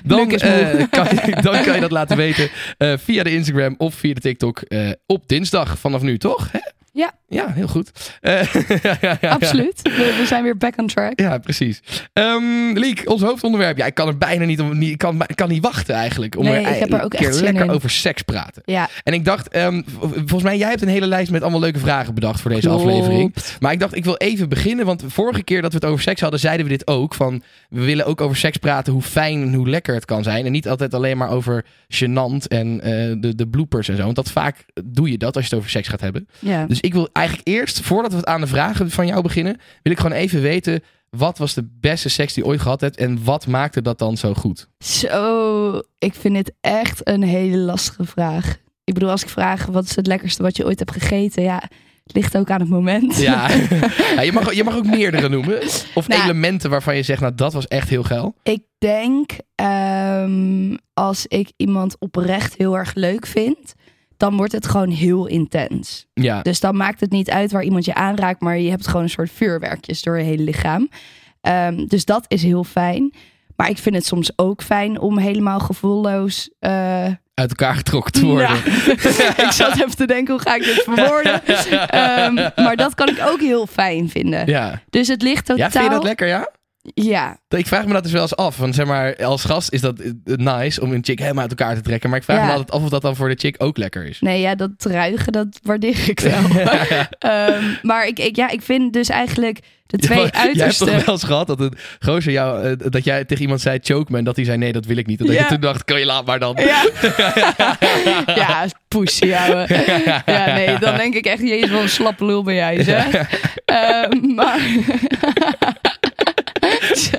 [SPEAKER 1] dan,
[SPEAKER 2] Leuk is
[SPEAKER 1] eh,
[SPEAKER 2] moe.
[SPEAKER 1] kan je, dan kan je dat laten weten eh, via de Instagram of via de TikTok. eh, op dinsdag vanaf nu, toch? Hè?
[SPEAKER 2] Ja.
[SPEAKER 1] Ja, heel goed. Eh, ja, ja, ja.
[SPEAKER 2] Absoluut. We, we zijn weer back on track.
[SPEAKER 1] Ja, precies. Ehm Liek, ons hoofdonderwerp. Ja, ik kan er bijna niet om. niet- Ik kan, ik kan niet wachten eigenlijk. Om
[SPEAKER 2] Nee,
[SPEAKER 1] er,
[SPEAKER 2] ik heb er
[SPEAKER 1] een
[SPEAKER 2] ook
[SPEAKER 1] keer
[SPEAKER 2] echt zin
[SPEAKER 1] lekker
[SPEAKER 2] in.
[SPEAKER 1] over seks praten.
[SPEAKER 2] Ja,
[SPEAKER 1] En ik dacht, ehm, v- volgens mij, jij hebt een hele lijst met allemaal leuke vragen bedacht voor deze
[SPEAKER 2] Klopt.
[SPEAKER 1] aflevering. Maar ik dacht, ik wil even beginnen, want vorige keer dat we het over seks hadden, zeiden we dit ook. Van, we willen ook over seks praten, hoe fijn en hoe lekker het kan zijn. En niet altijd alleen maar over gênant en eh, de, de bloopers en zo. Want dat vaak doe je dat als je het over seks gaat hebben.
[SPEAKER 2] ja.
[SPEAKER 1] Dus ik wil eigenlijk eerst, voordat we het aan de vragen van jou beginnen, wil ik gewoon even weten, wat was de beste seks die je ooit gehad hebt en wat maakte dat dan zo goed?
[SPEAKER 2] Zo, ik vind dit echt een hele lastige vraag. Ik bedoel, als ik vraag wat is het lekkerste wat je ooit hebt gegeten, ja, het ligt ook aan het moment.
[SPEAKER 1] Ja, ja je, mag, je mag ook meerdere noemen. Of
[SPEAKER 2] Nou.
[SPEAKER 1] elementen waarvan je zegt, nou dat was echt heel geil.
[SPEAKER 2] Ik denk ehm, als ik iemand oprecht heel erg leuk vind, dan wordt het gewoon heel intens.
[SPEAKER 1] Ja,
[SPEAKER 2] Dus dan maakt het niet uit waar iemand je aanraakt, maar je hebt gewoon een soort vuurwerkjes door je hele lichaam. Ehm, dus dat is heel fijn. Maar ik vind het soms ook fijn om helemaal gevoelloos eh,
[SPEAKER 1] uit elkaar getrokken te worden.
[SPEAKER 2] Ja. ik zat even te denken, hoe ga ik dit verwoorden? Ehm, maar dat kan ik ook heel fijn vinden.
[SPEAKER 1] Ja.
[SPEAKER 2] Dus het ligt totaal...
[SPEAKER 1] ja, vind je dat lekker, ja?
[SPEAKER 2] Ja,
[SPEAKER 1] Ik vraag me dat dus wel eens af. Want zeg maar, als gast is dat eh, nice om een chick helemaal uit elkaar te trekken. Maar ik vraag
[SPEAKER 2] Ja.
[SPEAKER 1] me altijd af of dat dan voor de chick ook lekker is.
[SPEAKER 2] nee, ja, dat ruigen, dat waardeer ik wel. Ehm, maar ik, ik, ja, ik vind dus eigenlijk de twee
[SPEAKER 1] Ja, maar Jij hebt
[SPEAKER 2] uiterste...
[SPEAKER 1] toch wel eens gehad dat een gozer jou, eh, dat jij tegen iemand zei choke me en dat hij zei nee, dat wil ik niet. En dat
[SPEAKER 2] Ja.
[SPEAKER 1] je toen dacht, kan je laat maar dan.
[SPEAKER 2] Ja, ja poesie, ouwe. Ja, nee, dan denk ik echt, jezus, wel een slappe lul ben jij, zeg. Ehm, maar... Zo.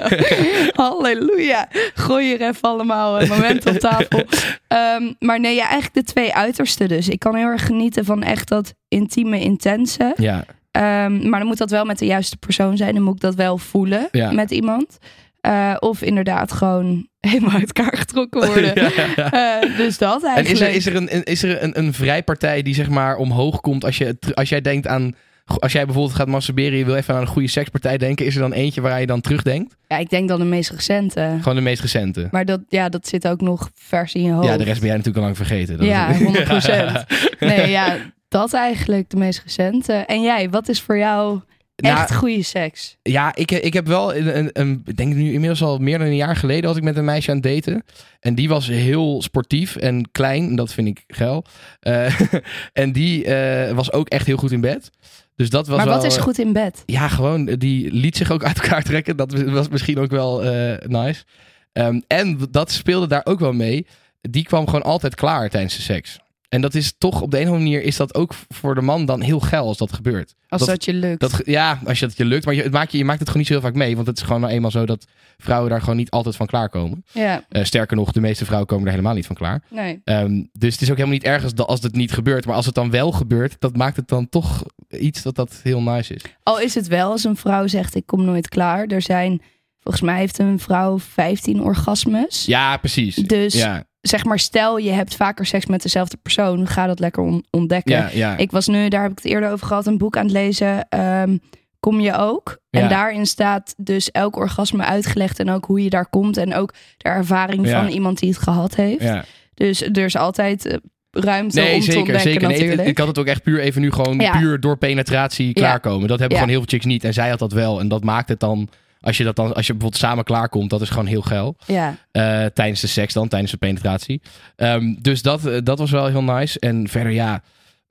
[SPEAKER 2] Halleluja. Gooi er even allemaal een moment op tafel. Ehm, maar nee, ja, eigenlijk de twee uitersten dus. Ik kan heel erg genieten van echt dat intieme, intense.
[SPEAKER 1] Ja,
[SPEAKER 2] Ehm, maar dan moet dat wel met de juiste persoon zijn. Dan moet ik dat wel voelen
[SPEAKER 1] Ja.
[SPEAKER 2] met iemand. Eh, of inderdaad gewoon helemaal uit elkaar getrokken worden. Eh, dus dat
[SPEAKER 1] En is
[SPEAKER 2] eigenlijk.
[SPEAKER 1] er, is er, een, een- is er een, een vrijpartij die zeg maar omhoog komt als, je, als jij denkt aan... Als jij bijvoorbeeld gaat masturberen, je wil even aan een goede sekspartij denken. Is er dan eentje waar je dan terugdenkt?
[SPEAKER 2] Ja, ik denk dan de meest recente.
[SPEAKER 1] Gewoon de meest recente.
[SPEAKER 2] Maar dat, ja, dat zit ook nog vers in je hoofd.
[SPEAKER 1] Ja, de rest ben jij natuurlijk al lang vergeten. Dat
[SPEAKER 2] Oh. Ja,
[SPEAKER 1] is-
[SPEAKER 2] 100 Nee, ja, dat eigenlijk de meest recente. En jij, wat is voor jou
[SPEAKER 1] Nou,
[SPEAKER 2] echt goede seks?
[SPEAKER 1] Ja, ik, ik heb wel een, een, een- ik denk nu inmiddels al meer dan een jaar geleden had ik met een meisje aan het daten. En die was heel sportief en klein. En dat vind ik geil. Eh, en die eh, was ook echt heel goed in bed. Dus dat was
[SPEAKER 2] Maar wat
[SPEAKER 1] wel,
[SPEAKER 2] is
[SPEAKER 1] eh,
[SPEAKER 2] goed in bed?
[SPEAKER 1] Ja, gewoon, eh, die liet zich ook uit elkaar trekken. Dat was misschien ook wel eh, nice. Ehm, en dat speelde daar ook wel mee. Die kwam gewoon altijd klaar tijdens de seks. En dat is toch, op de een of andere manier, is dat ook voor de man dan heel geil als dat gebeurt.
[SPEAKER 2] Als
[SPEAKER 1] dat-
[SPEAKER 2] dat, je lukt.
[SPEAKER 1] Dat, ge- ja, als je dat je lukt. Maar je, het maakt, je, je maakt het gewoon niet zo heel vaak mee. Want het is gewoon nou eenmaal zo dat vrouwen daar gewoon niet altijd van klaarkomen.
[SPEAKER 2] Ja,
[SPEAKER 1] Eh sterker nog, de meeste vrouwen komen er helemaal niet van klaar.
[SPEAKER 2] nee.
[SPEAKER 1] Ehm, dus het is ook helemaal niet erg als, dat- als het niet gebeurt. Maar als het dan wel gebeurt, dat maakt het dan toch iets dat dat heel nice is.
[SPEAKER 2] Al is het wel als een vrouw zegt ik kom nooit klaar. Er zijn, volgens mij heeft een vrouw 15 orgasmes.
[SPEAKER 1] Ja, precies.
[SPEAKER 2] Dus
[SPEAKER 1] ja,
[SPEAKER 2] zeg maar, stel je hebt vaker seks met dezelfde persoon. Ga dat lekker on- ontdekken.
[SPEAKER 1] ja, ja.
[SPEAKER 2] Ik was nu, daar heb ik het eerder over gehad, een boek aan het lezen. ehm, kom je ook?
[SPEAKER 1] Ja.
[SPEAKER 2] En daarin staat dus elk orgasme uitgelegd en ook hoe je daar komt. En ook de ervaring
[SPEAKER 1] Ja.
[SPEAKER 2] van iemand die het gehad heeft.
[SPEAKER 1] ja.
[SPEAKER 2] Dus er is altijd eh, ruimte
[SPEAKER 1] Nee,
[SPEAKER 2] om te
[SPEAKER 1] zeker,
[SPEAKER 2] ontdekken
[SPEAKER 1] zeker. Nee, ik-
[SPEAKER 2] natuurlijk.
[SPEAKER 1] ik had het ook echt puur even nu gewoon
[SPEAKER 2] Ja.
[SPEAKER 1] puur door penetratie klaarkomen. Dat hebben
[SPEAKER 2] Ja.
[SPEAKER 1] gewoon heel veel chicks niet. En zij had dat wel. En dat maakt het dan, als je, dat dan, als je bijvoorbeeld samen klaarkomt, dat is gewoon heel geil.
[SPEAKER 2] Ja,
[SPEAKER 1] Eh, tijdens de seks dan, tijdens de penetratie. Ehm, dus dat, eh, dat was wel heel nice. En verder ja,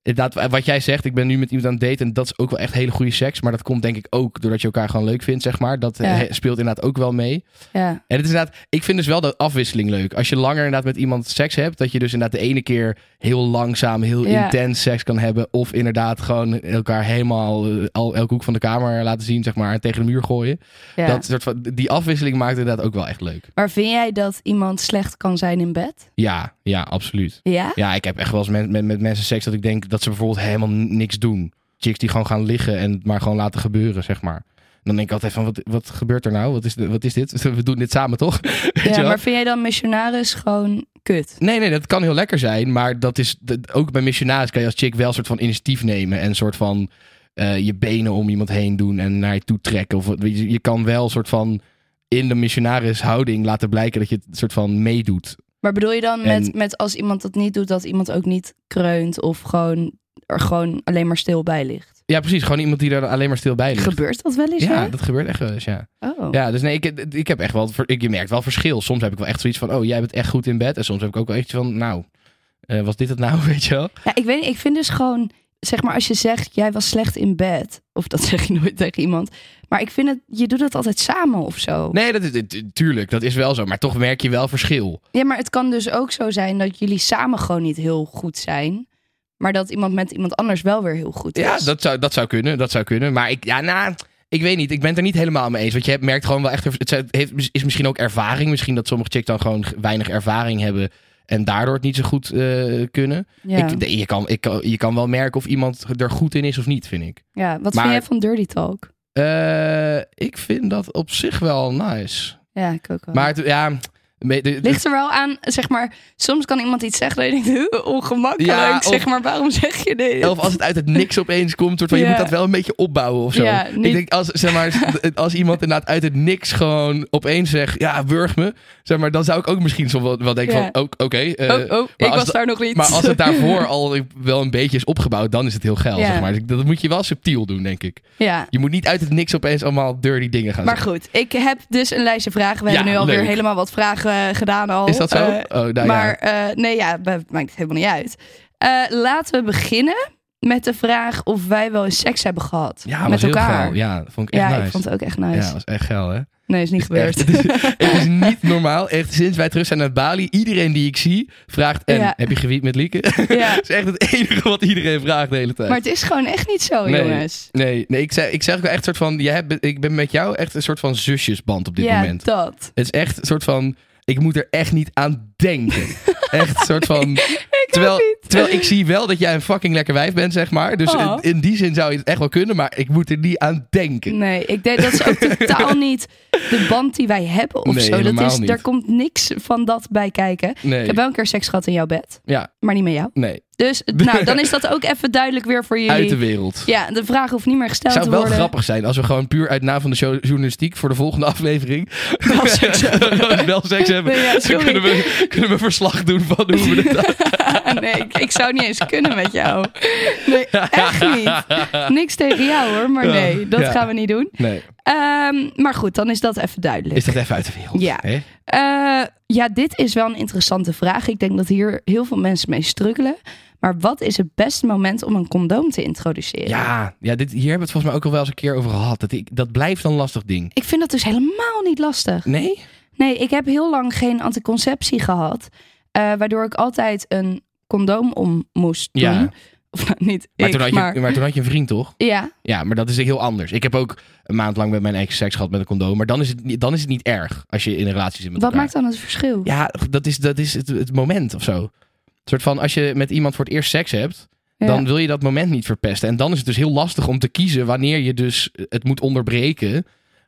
[SPEAKER 1] inderdaad, wat jij zegt, ik ben nu met iemand aan het daten en dat is ook wel echt hele goede seks. Maar dat komt denk ik ook doordat je elkaar gewoon leuk vindt, zeg maar. Dat eh,
[SPEAKER 2] Ja.
[SPEAKER 1] speelt inderdaad ook wel mee.
[SPEAKER 2] ja.
[SPEAKER 1] En het is inderdaad, ik vind dus wel de afwisseling leuk. Als je langer inderdaad met iemand seks hebt, dat je dus inderdaad de ene keer heel langzaam, heel
[SPEAKER 2] Ja.
[SPEAKER 1] intens seks kan hebben. Of inderdaad gewoon elkaar helemaal eh, al, elke hoek van de kamer laten zien, zeg maar, en tegen de muur gooien.
[SPEAKER 2] ja.
[SPEAKER 1] Dat soort van, die afwisseling maakt inderdaad ook wel echt leuk.
[SPEAKER 2] Maar vind jij dat iemand slecht kan zijn in bed?
[SPEAKER 1] Ja, ja, absoluut.
[SPEAKER 2] Ja?
[SPEAKER 1] Ja, ik heb echt wel eens met, met, met mensen seks dat ik denk dat ze bijvoorbeeld helemaal n- niks doen. Chicks die gewoon gaan liggen en het maar gewoon laten gebeuren, zeg maar. Dan denk ik altijd van, wat, wat gebeurt er nou? Wat is, de- wat is dit? We doen dit samen, toch? Weet je
[SPEAKER 2] Ja,
[SPEAKER 1] wel?
[SPEAKER 2] maar vind jij dan missionaris gewoon kut.
[SPEAKER 1] Nee, nee, dat kan heel lekker zijn. Maar dat is dat- ook bij missionaris kan je als chick wel een soort van initiatief nemen. En een soort van eh, je benen om iemand heen doen en naar je toe trekken. Of, weet je, je kan wel een soort van in de missionaris houding laten blijken dat je het soort van meedoet.
[SPEAKER 2] Maar bedoel je dan met,
[SPEAKER 1] En-
[SPEAKER 2] met als iemand dat niet doet, dat iemand ook niet kreunt of gewoon er gewoon alleen maar stil bij ligt?
[SPEAKER 1] Ja, precies. Gewoon iemand die daar alleen maar stil bij ligt.
[SPEAKER 2] Gebeurt dat wel eens?
[SPEAKER 1] Ja,
[SPEAKER 2] hè?
[SPEAKER 1] dat gebeurt echt wel eens, ja.
[SPEAKER 2] Oh.
[SPEAKER 1] Ja, dus nee, ik, ik heb echt wel, het ver- ik, je merkt wel verschil. Soms heb ik wel echt zoiets van, oh, jij bent echt goed in bed. En soms heb ik ook wel echt van, nou, eh, was dit het nou, weet je wel?
[SPEAKER 2] Ja, ik weet niet, ik vind dus gewoon, zeg maar als je zegt, jij was slecht in bed. Of dat zeg je nooit tegen iemand. Maar ik vind het, je doet het altijd samen of zo.
[SPEAKER 1] Nee, dat is, dit- tuurlijk, dat is wel zo. Maar toch merk je wel verschil.
[SPEAKER 2] Ja, maar het kan dus ook zo zijn dat jullie samen gewoon niet heel goed zijn. Maar dat iemand met iemand anders wel weer heel goed is.
[SPEAKER 1] Ja, dat zou, dat zou kunnen, dat zou kunnen. Maar ik, ja, nou, ik weet niet. Ik ben het er niet helemaal mee eens. Want je hebt- merkt gewoon wel echt, het zijn- heeft, is misschien ook ervaring. Misschien dat sommige chicks dan gewoon g- weinig ervaring hebben. En daardoor het niet zo goed eh, kunnen.
[SPEAKER 2] ja.
[SPEAKER 1] Ik, je, kan, ik, kan- je kan wel merken of iemand er goed in is of niet, vind ik.
[SPEAKER 2] Ja, Wat
[SPEAKER 1] Maar-
[SPEAKER 2] vind jij van Dirty Talk?
[SPEAKER 1] Eh, ik vind dat op zich wel nice.
[SPEAKER 2] Ja, ik ook wel.
[SPEAKER 1] Maar het, ja... me- de- de-
[SPEAKER 2] Ligt er wel aan, zeg maar, soms kan iemand iets zeggen dat je denkt, "Huh, ongemakkelijk,
[SPEAKER 1] Ja, of-
[SPEAKER 2] zeg maar, waarom zeg je dit?
[SPEAKER 1] of als het uit het niks opeens komt, soort van, je
[SPEAKER 2] Ja.
[SPEAKER 1] moet dat wel een beetje opbouwen of zo.
[SPEAKER 2] Ja,
[SPEAKER 1] Ik
[SPEAKER 2] niet-
[SPEAKER 1] denk, als, zeg maar, als iemand inderdaad uit het niks gewoon opeens zegt, ja, wurg me, zeg maar, dan zou ik ook misschien soms wel, wel denken
[SPEAKER 2] Ja.
[SPEAKER 1] van, ook- oké, eh,
[SPEAKER 2] oh, oh, ik
[SPEAKER 1] als
[SPEAKER 2] was
[SPEAKER 1] da-
[SPEAKER 2] daar nog niet.
[SPEAKER 1] maar als het daarvoor al wel een beetje is opgebouwd, dan is het heel geil,
[SPEAKER 2] Ja.
[SPEAKER 1] zeg maar. Dus dat moet je wel subtiel doen, denk ik.
[SPEAKER 2] Ja,
[SPEAKER 1] Je moet niet uit het niks opeens allemaal dirty dingen gaan
[SPEAKER 2] maar
[SPEAKER 1] zeggen.
[SPEAKER 2] goed, ik heb dus een lijstje vragen. We
[SPEAKER 1] Ja,
[SPEAKER 2] hebben nu alweer
[SPEAKER 1] leuk.
[SPEAKER 2] helemaal wat vragen eh, gedaan al.
[SPEAKER 1] Is dat zo?
[SPEAKER 2] Eh,
[SPEAKER 1] oh, nou ja.
[SPEAKER 2] maar eh, nee, ja, we- maakt het helemaal niet uit. Eh, laten we beginnen met de vraag of wij wel eens seks hebben gehad
[SPEAKER 1] Ja, was
[SPEAKER 2] met
[SPEAKER 1] heel
[SPEAKER 2] elkaar.
[SPEAKER 1] geil. Ja, dat vond ik echt
[SPEAKER 2] Ja,
[SPEAKER 1] nice.
[SPEAKER 2] ik vond het ook echt nice.
[SPEAKER 1] Ja, was echt geil, hè?
[SPEAKER 2] Nee, is niet gebeurd.
[SPEAKER 1] Echt, het, is, het is niet normaal. Echt, sinds wij terug zijn naar Bali, iedereen die ik zie vraagt: en,
[SPEAKER 2] Ja.
[SPEAKER 1] Heb je gewiet met Lieke?
[SPEAKER 2] Ja.
[SPEAKER 1] dat is echt het enige wat iedereen vraagt de hele tijd.
[SPEAKER 2] Maar het is gewoon echt niet zo,
[SPEAKER 1] Nee.
[SPEAKER 2] jongens.
[SPEAKER 1] Nee, nee ik, zeg, ik zeg ook wel echt soort van: jij hebt, Ik ben met jou echt een soort van zusjesband op dit
[SPEAKER 2] ja,
[SPEAKER 1] moment.
[SPEAKER 2] dat.
[SPEAKER 1] Het is echt een soort van: Ik moet er echt niet aan denken. echt een soort van. terwijl, terwijl ik zie wel dat jij een fucking lekker wijf bent, zeg maar. Dus
[SPEAKER 2] Oh.
[SPEAKER 1] in, in die zin zou je het echt wel kunnen, maar ik moet er niet aan denken.
[SPEAKER 2] Nee, ik denk dat is ook totaal niet de band die wij hebben of
[SPEAKER 1] Nee,
[SPEAKER 2] zo. Dat
[SPEAKER 1] helemaal
[SPEAKER 2] is,
[SPEAKER 1] niet.
[SPEAKER 2] daar komt niks van dat bij kijken.
[SPEAKER 1] Nee.
[SPEAKER 2] Ik heb wel een keer seks gehad in jouw bed,
[SPEAKER 1] Ja,
[SPEAKER 2] maar niet met jou.
[SPEAKER 1] nee.
[SPEAKER 2] Dus nou, dan is dat ook even duidelijk weer voor jullie.
[SPEAKER 1] Uit de wereld.
[SPEAKER 2] Ja, de vraag hoeft niet meer gesteld
[SPEAKER 1] zou
[SPEAKER 2] te
[SPEAKER 1] wel
[SPEAKER 2] worden.
[SPEAKER 1] grappig zijn als we gewoon puur uit naam van de show- journalistiek voor de volgende aflevering
[SPEAKER 2] Wel seks
[SPEAKER 1] hebben. wel seks hebben.
[SPEAKER 2] Nee, ja,
[SPEAKER 1] Dan
[SPEAKER 2] sorry.
[SPEAKER 1] kunnen we, kunnen we verslag doen van hoe we dit
[SPEAKER 2] nee, ik, ik zou niet eens kunnen met jou. Nee, echt niet. Niks tegen jou hoor, maar nee, dat
[SPEAKER 1] Ja.
[SPEAKER 2] gaan we niet doen.
[SPEAKER 1] Nee,
[SPEAKER 2] Ehm, maar goed, dan is dat even duidelijk.
[SPEAKER 1] is dat even uit de wereld?
[SPEAKER 2] Ja.
[SPEAKER 1] Hè?
[SPEAKER 2] Eh, ja, dit is wel een interessante vraag. Ik denk dat hier heel veel mensen mee struggelen. Maar wat is het beste moment om een condoom te introduceren?
[SPEAKER 1] Ja, ja dit, hier hebben we het volgens mij ook al wel eens een keer over gehad. Dat, ik, dat blijft een lastig ding.
[SPEAKER 2] Ik vind dat dus helemaal niet lastig.
[SPEAKER 1] Nee?
[SPEAKER 2] Nee, ik heb heel lang geen anticonceptie gehad. eh, waardoor ik altijd een condoom om moest doen.
[SPEAKER 1] Ja.
[SPEAKER 2] Of nou, niet
[SPEAKER 1] Maar,
[SPEAKER 2] ik,
[SPEAKER 1] toen had je,
[SPEAKER 2] maar...
[SPEAKER 1] maar... toen had je een vriend, toch?
[SPEAKER 2] Ja,
[SPEAKER 1] Ja, maar dat is heel anders. Ik heb ook een maand lang met mijn ex seks gehad met een condoom. Maar dan is het, niet- dan is het niet erg als je in een relatie zit met
[SPEAKER 2] wat
[SPEAKER 1] elkaar.
[SPEAKER 2] maakt dan het verschil?
[SPEAKER 1] Ja, dat is, dat is het, het moment of zo. Een soort van als je met iemand voor het eerst seks hebt,
[SPEAKER 2] Ja.
[SPEAKER 1] dan wil je dat moment niet verpesten. En dan is het dus heel lastig om te kiezen wanneer je dus het moet onderbreken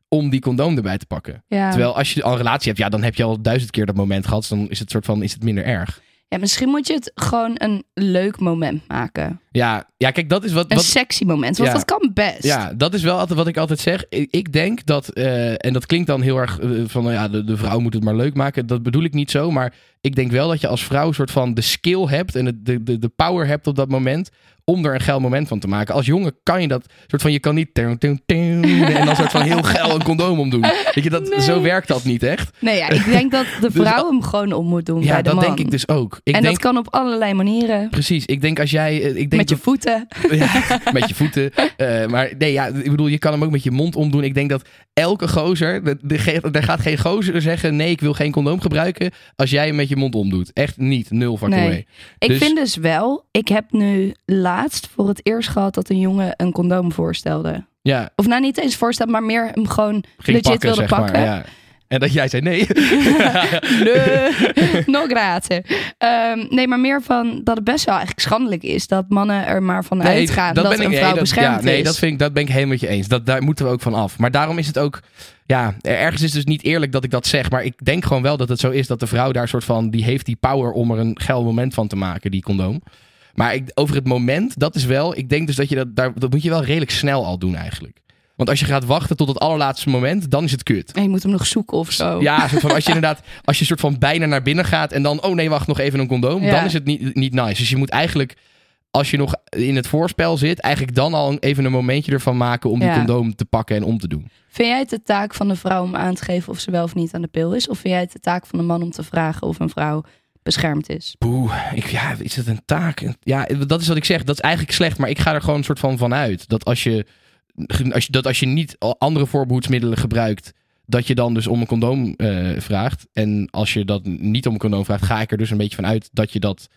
[SPEAKER 1] om die condoom erbij te pakken.
[SPEAKER 2] Ja.
[SPEAKER 1] Terwijl als je al een relatie hebt, ja, dan heb je al duizend keer dat moment gehad. Dus dan is het soort van is het minder erg.
[SPEAKER 2] ja, misschien moet je het gewoon een leuk moment maken.
[SPEAKER 1] Ja, ja kijk, dat is wat.
[SPEAKER 2] Een
[SPEAKER 1] wat
[SPEAKER 2] sexy moment, want
[SPEAKER 1] Ja.
[SPEAKER 2] dat kan best.
[SPEAKER 1] ja, dat is wel altijd wat ik altijd zeg. Ik ik denk dat, eh, en dat klinkt dan heel erg eh, van nou ja, de, de vrouw moet het maar leuk maken. Dat bedoel ik niet zo. Maar ik denk wel dat je als vrouw een soort van de skill hebt en het- de, de, de power hebt op dat moment. Om er een geil moment van te maken. Als jongen kan je dat soort van, je kan niet. tung, tung, tung, en dan soort van heel geil een condoom omdoen. Weet je, dat,
[SPEAKER 2] Nee.
[SPEAKER 1] zo werkt dat niet echt.
[SPEAKER 2] Nee, ja, ik denk dat de vrouw hem gewoon om moet doen
[SPEAKER 1] Dus Ja,
[SPEAKER 2] bij de
[SPEAKER 1] dat
[SPEAKER 2] man.
[SPEAKER 1] denk ik dus ook. Ik
[SPEAKER 2] en
[SPEAKER 1] denk,
[SPEAKER 2] dat kan op allerlei manieren.
[SPEAKER 1] Precies, ik denk als jij. eh, Ik denk
[SPEAKER 2] Met je voeten.
[SPEAKER 1] Ja, met je voeten. Eh, maar nee, ja, ik bedoel, je kan hem ook met je mond omdoen. Ik denk dat elke gozer, de- de ge- er gaat geen gozer zeggen, nee, ik wil geen condoom gebruiken, als jij hem met je mond omdoet. Echt niet, nul fucking
[SPEAKER 2] Nee.
[SPEAKER 1] way.
[SPEAKER 2] Ik
[SPEAKER 1] Dus-
[SPEAKER 2] vind dus wel, ik heb nu laatst voor het eerst gehad dat een jongen een condoom voorstelde.
[SPEAKER 1] Ja,
[SPEAKER 2] Of nou niet eens voorstelde, maar meer hem gewoon
[SPEAKER 1] ging
[SPEAKER 2] legit
[SPEAKER 1] pakken,
[SPEAKER 2] wilde
[SPEAKER 1] zeg
[SPEAKER 2] pakken.
[SPEAKER 1] maar. Ja. En dat jij zei nee.
[SPEAKER 2] Nee, no grazie. Ehm, nee, maar meer van dat het best wel eigenlijk schandelijk is dat mannen er maar van uitgaan dat, een
[SPEAKER 1] nee,
[SPEAKER 2] vrouw
[SPEAKER 1] dat-
[SPEAKER 2] beschermd
[SPEAKER 1] ja, nee,
[SPEAKER 2] is.
[SPEAKER 1] dat, vind ik, dat ben ik helemaal met je eens. Dat, daar moeten we ook van af. Maar daarom is het ook... Ja, ergens is het dus niet eerlijk dat ik dat zeg. Maar ik denk gewoon wel dat het zo is dat de vrouw daar soort van... Die heeft die power om er een geil moment van te maken, die condoom. Maar ik, over het moment, dat is wel... Ik denk dus dat je dat... Daar, dat moet je wel redelijk snel al doen eigenlijk. Want als je gaat wachten tot het allerlaatste moment, dan is het kut.
[SPEAKER 2] En je moet hem nog zoeken of zo.
[SPEAKER 1] Ja, soort van, als je inderdaad, als je soort van bijna naar binnen gaat en dan, oh nee, wacht, nog even een condoom,
[SPEAKER 2] Ja.
[SPEAKER 1] dan is het niet, niet nice. Dus je moet eigenlijk, als je nog in het voorspel zit, eigenlijk dan al een- even een momentje ervan maken om
[SPEAKER 2] Ja.
[SPEAKER 1] die condoom te pakken en om te doen.
[SPEAKER 2] Vind jij het de taak van de vrouw om aan te geven of ze wel of niet aan de pil is? Of vind jij het de taak van de man om te vragen of een vrouw beschermd is?
[SPEAKER 1] Boeh, ik, ja, is dat een taak? Ja, dat is wat ik zeg, dat is eigenlijk slecht, maar ik ga er gewoon een soort van van uit. Dat als je, als je, dat als je niet al andere voorbehoedsmiddelen gebruikt, dat je dan dus om een condoom eh, vraagt. En als je dat niet om een condoom vraagt, ga ik er dus een beetje van uit dat je dat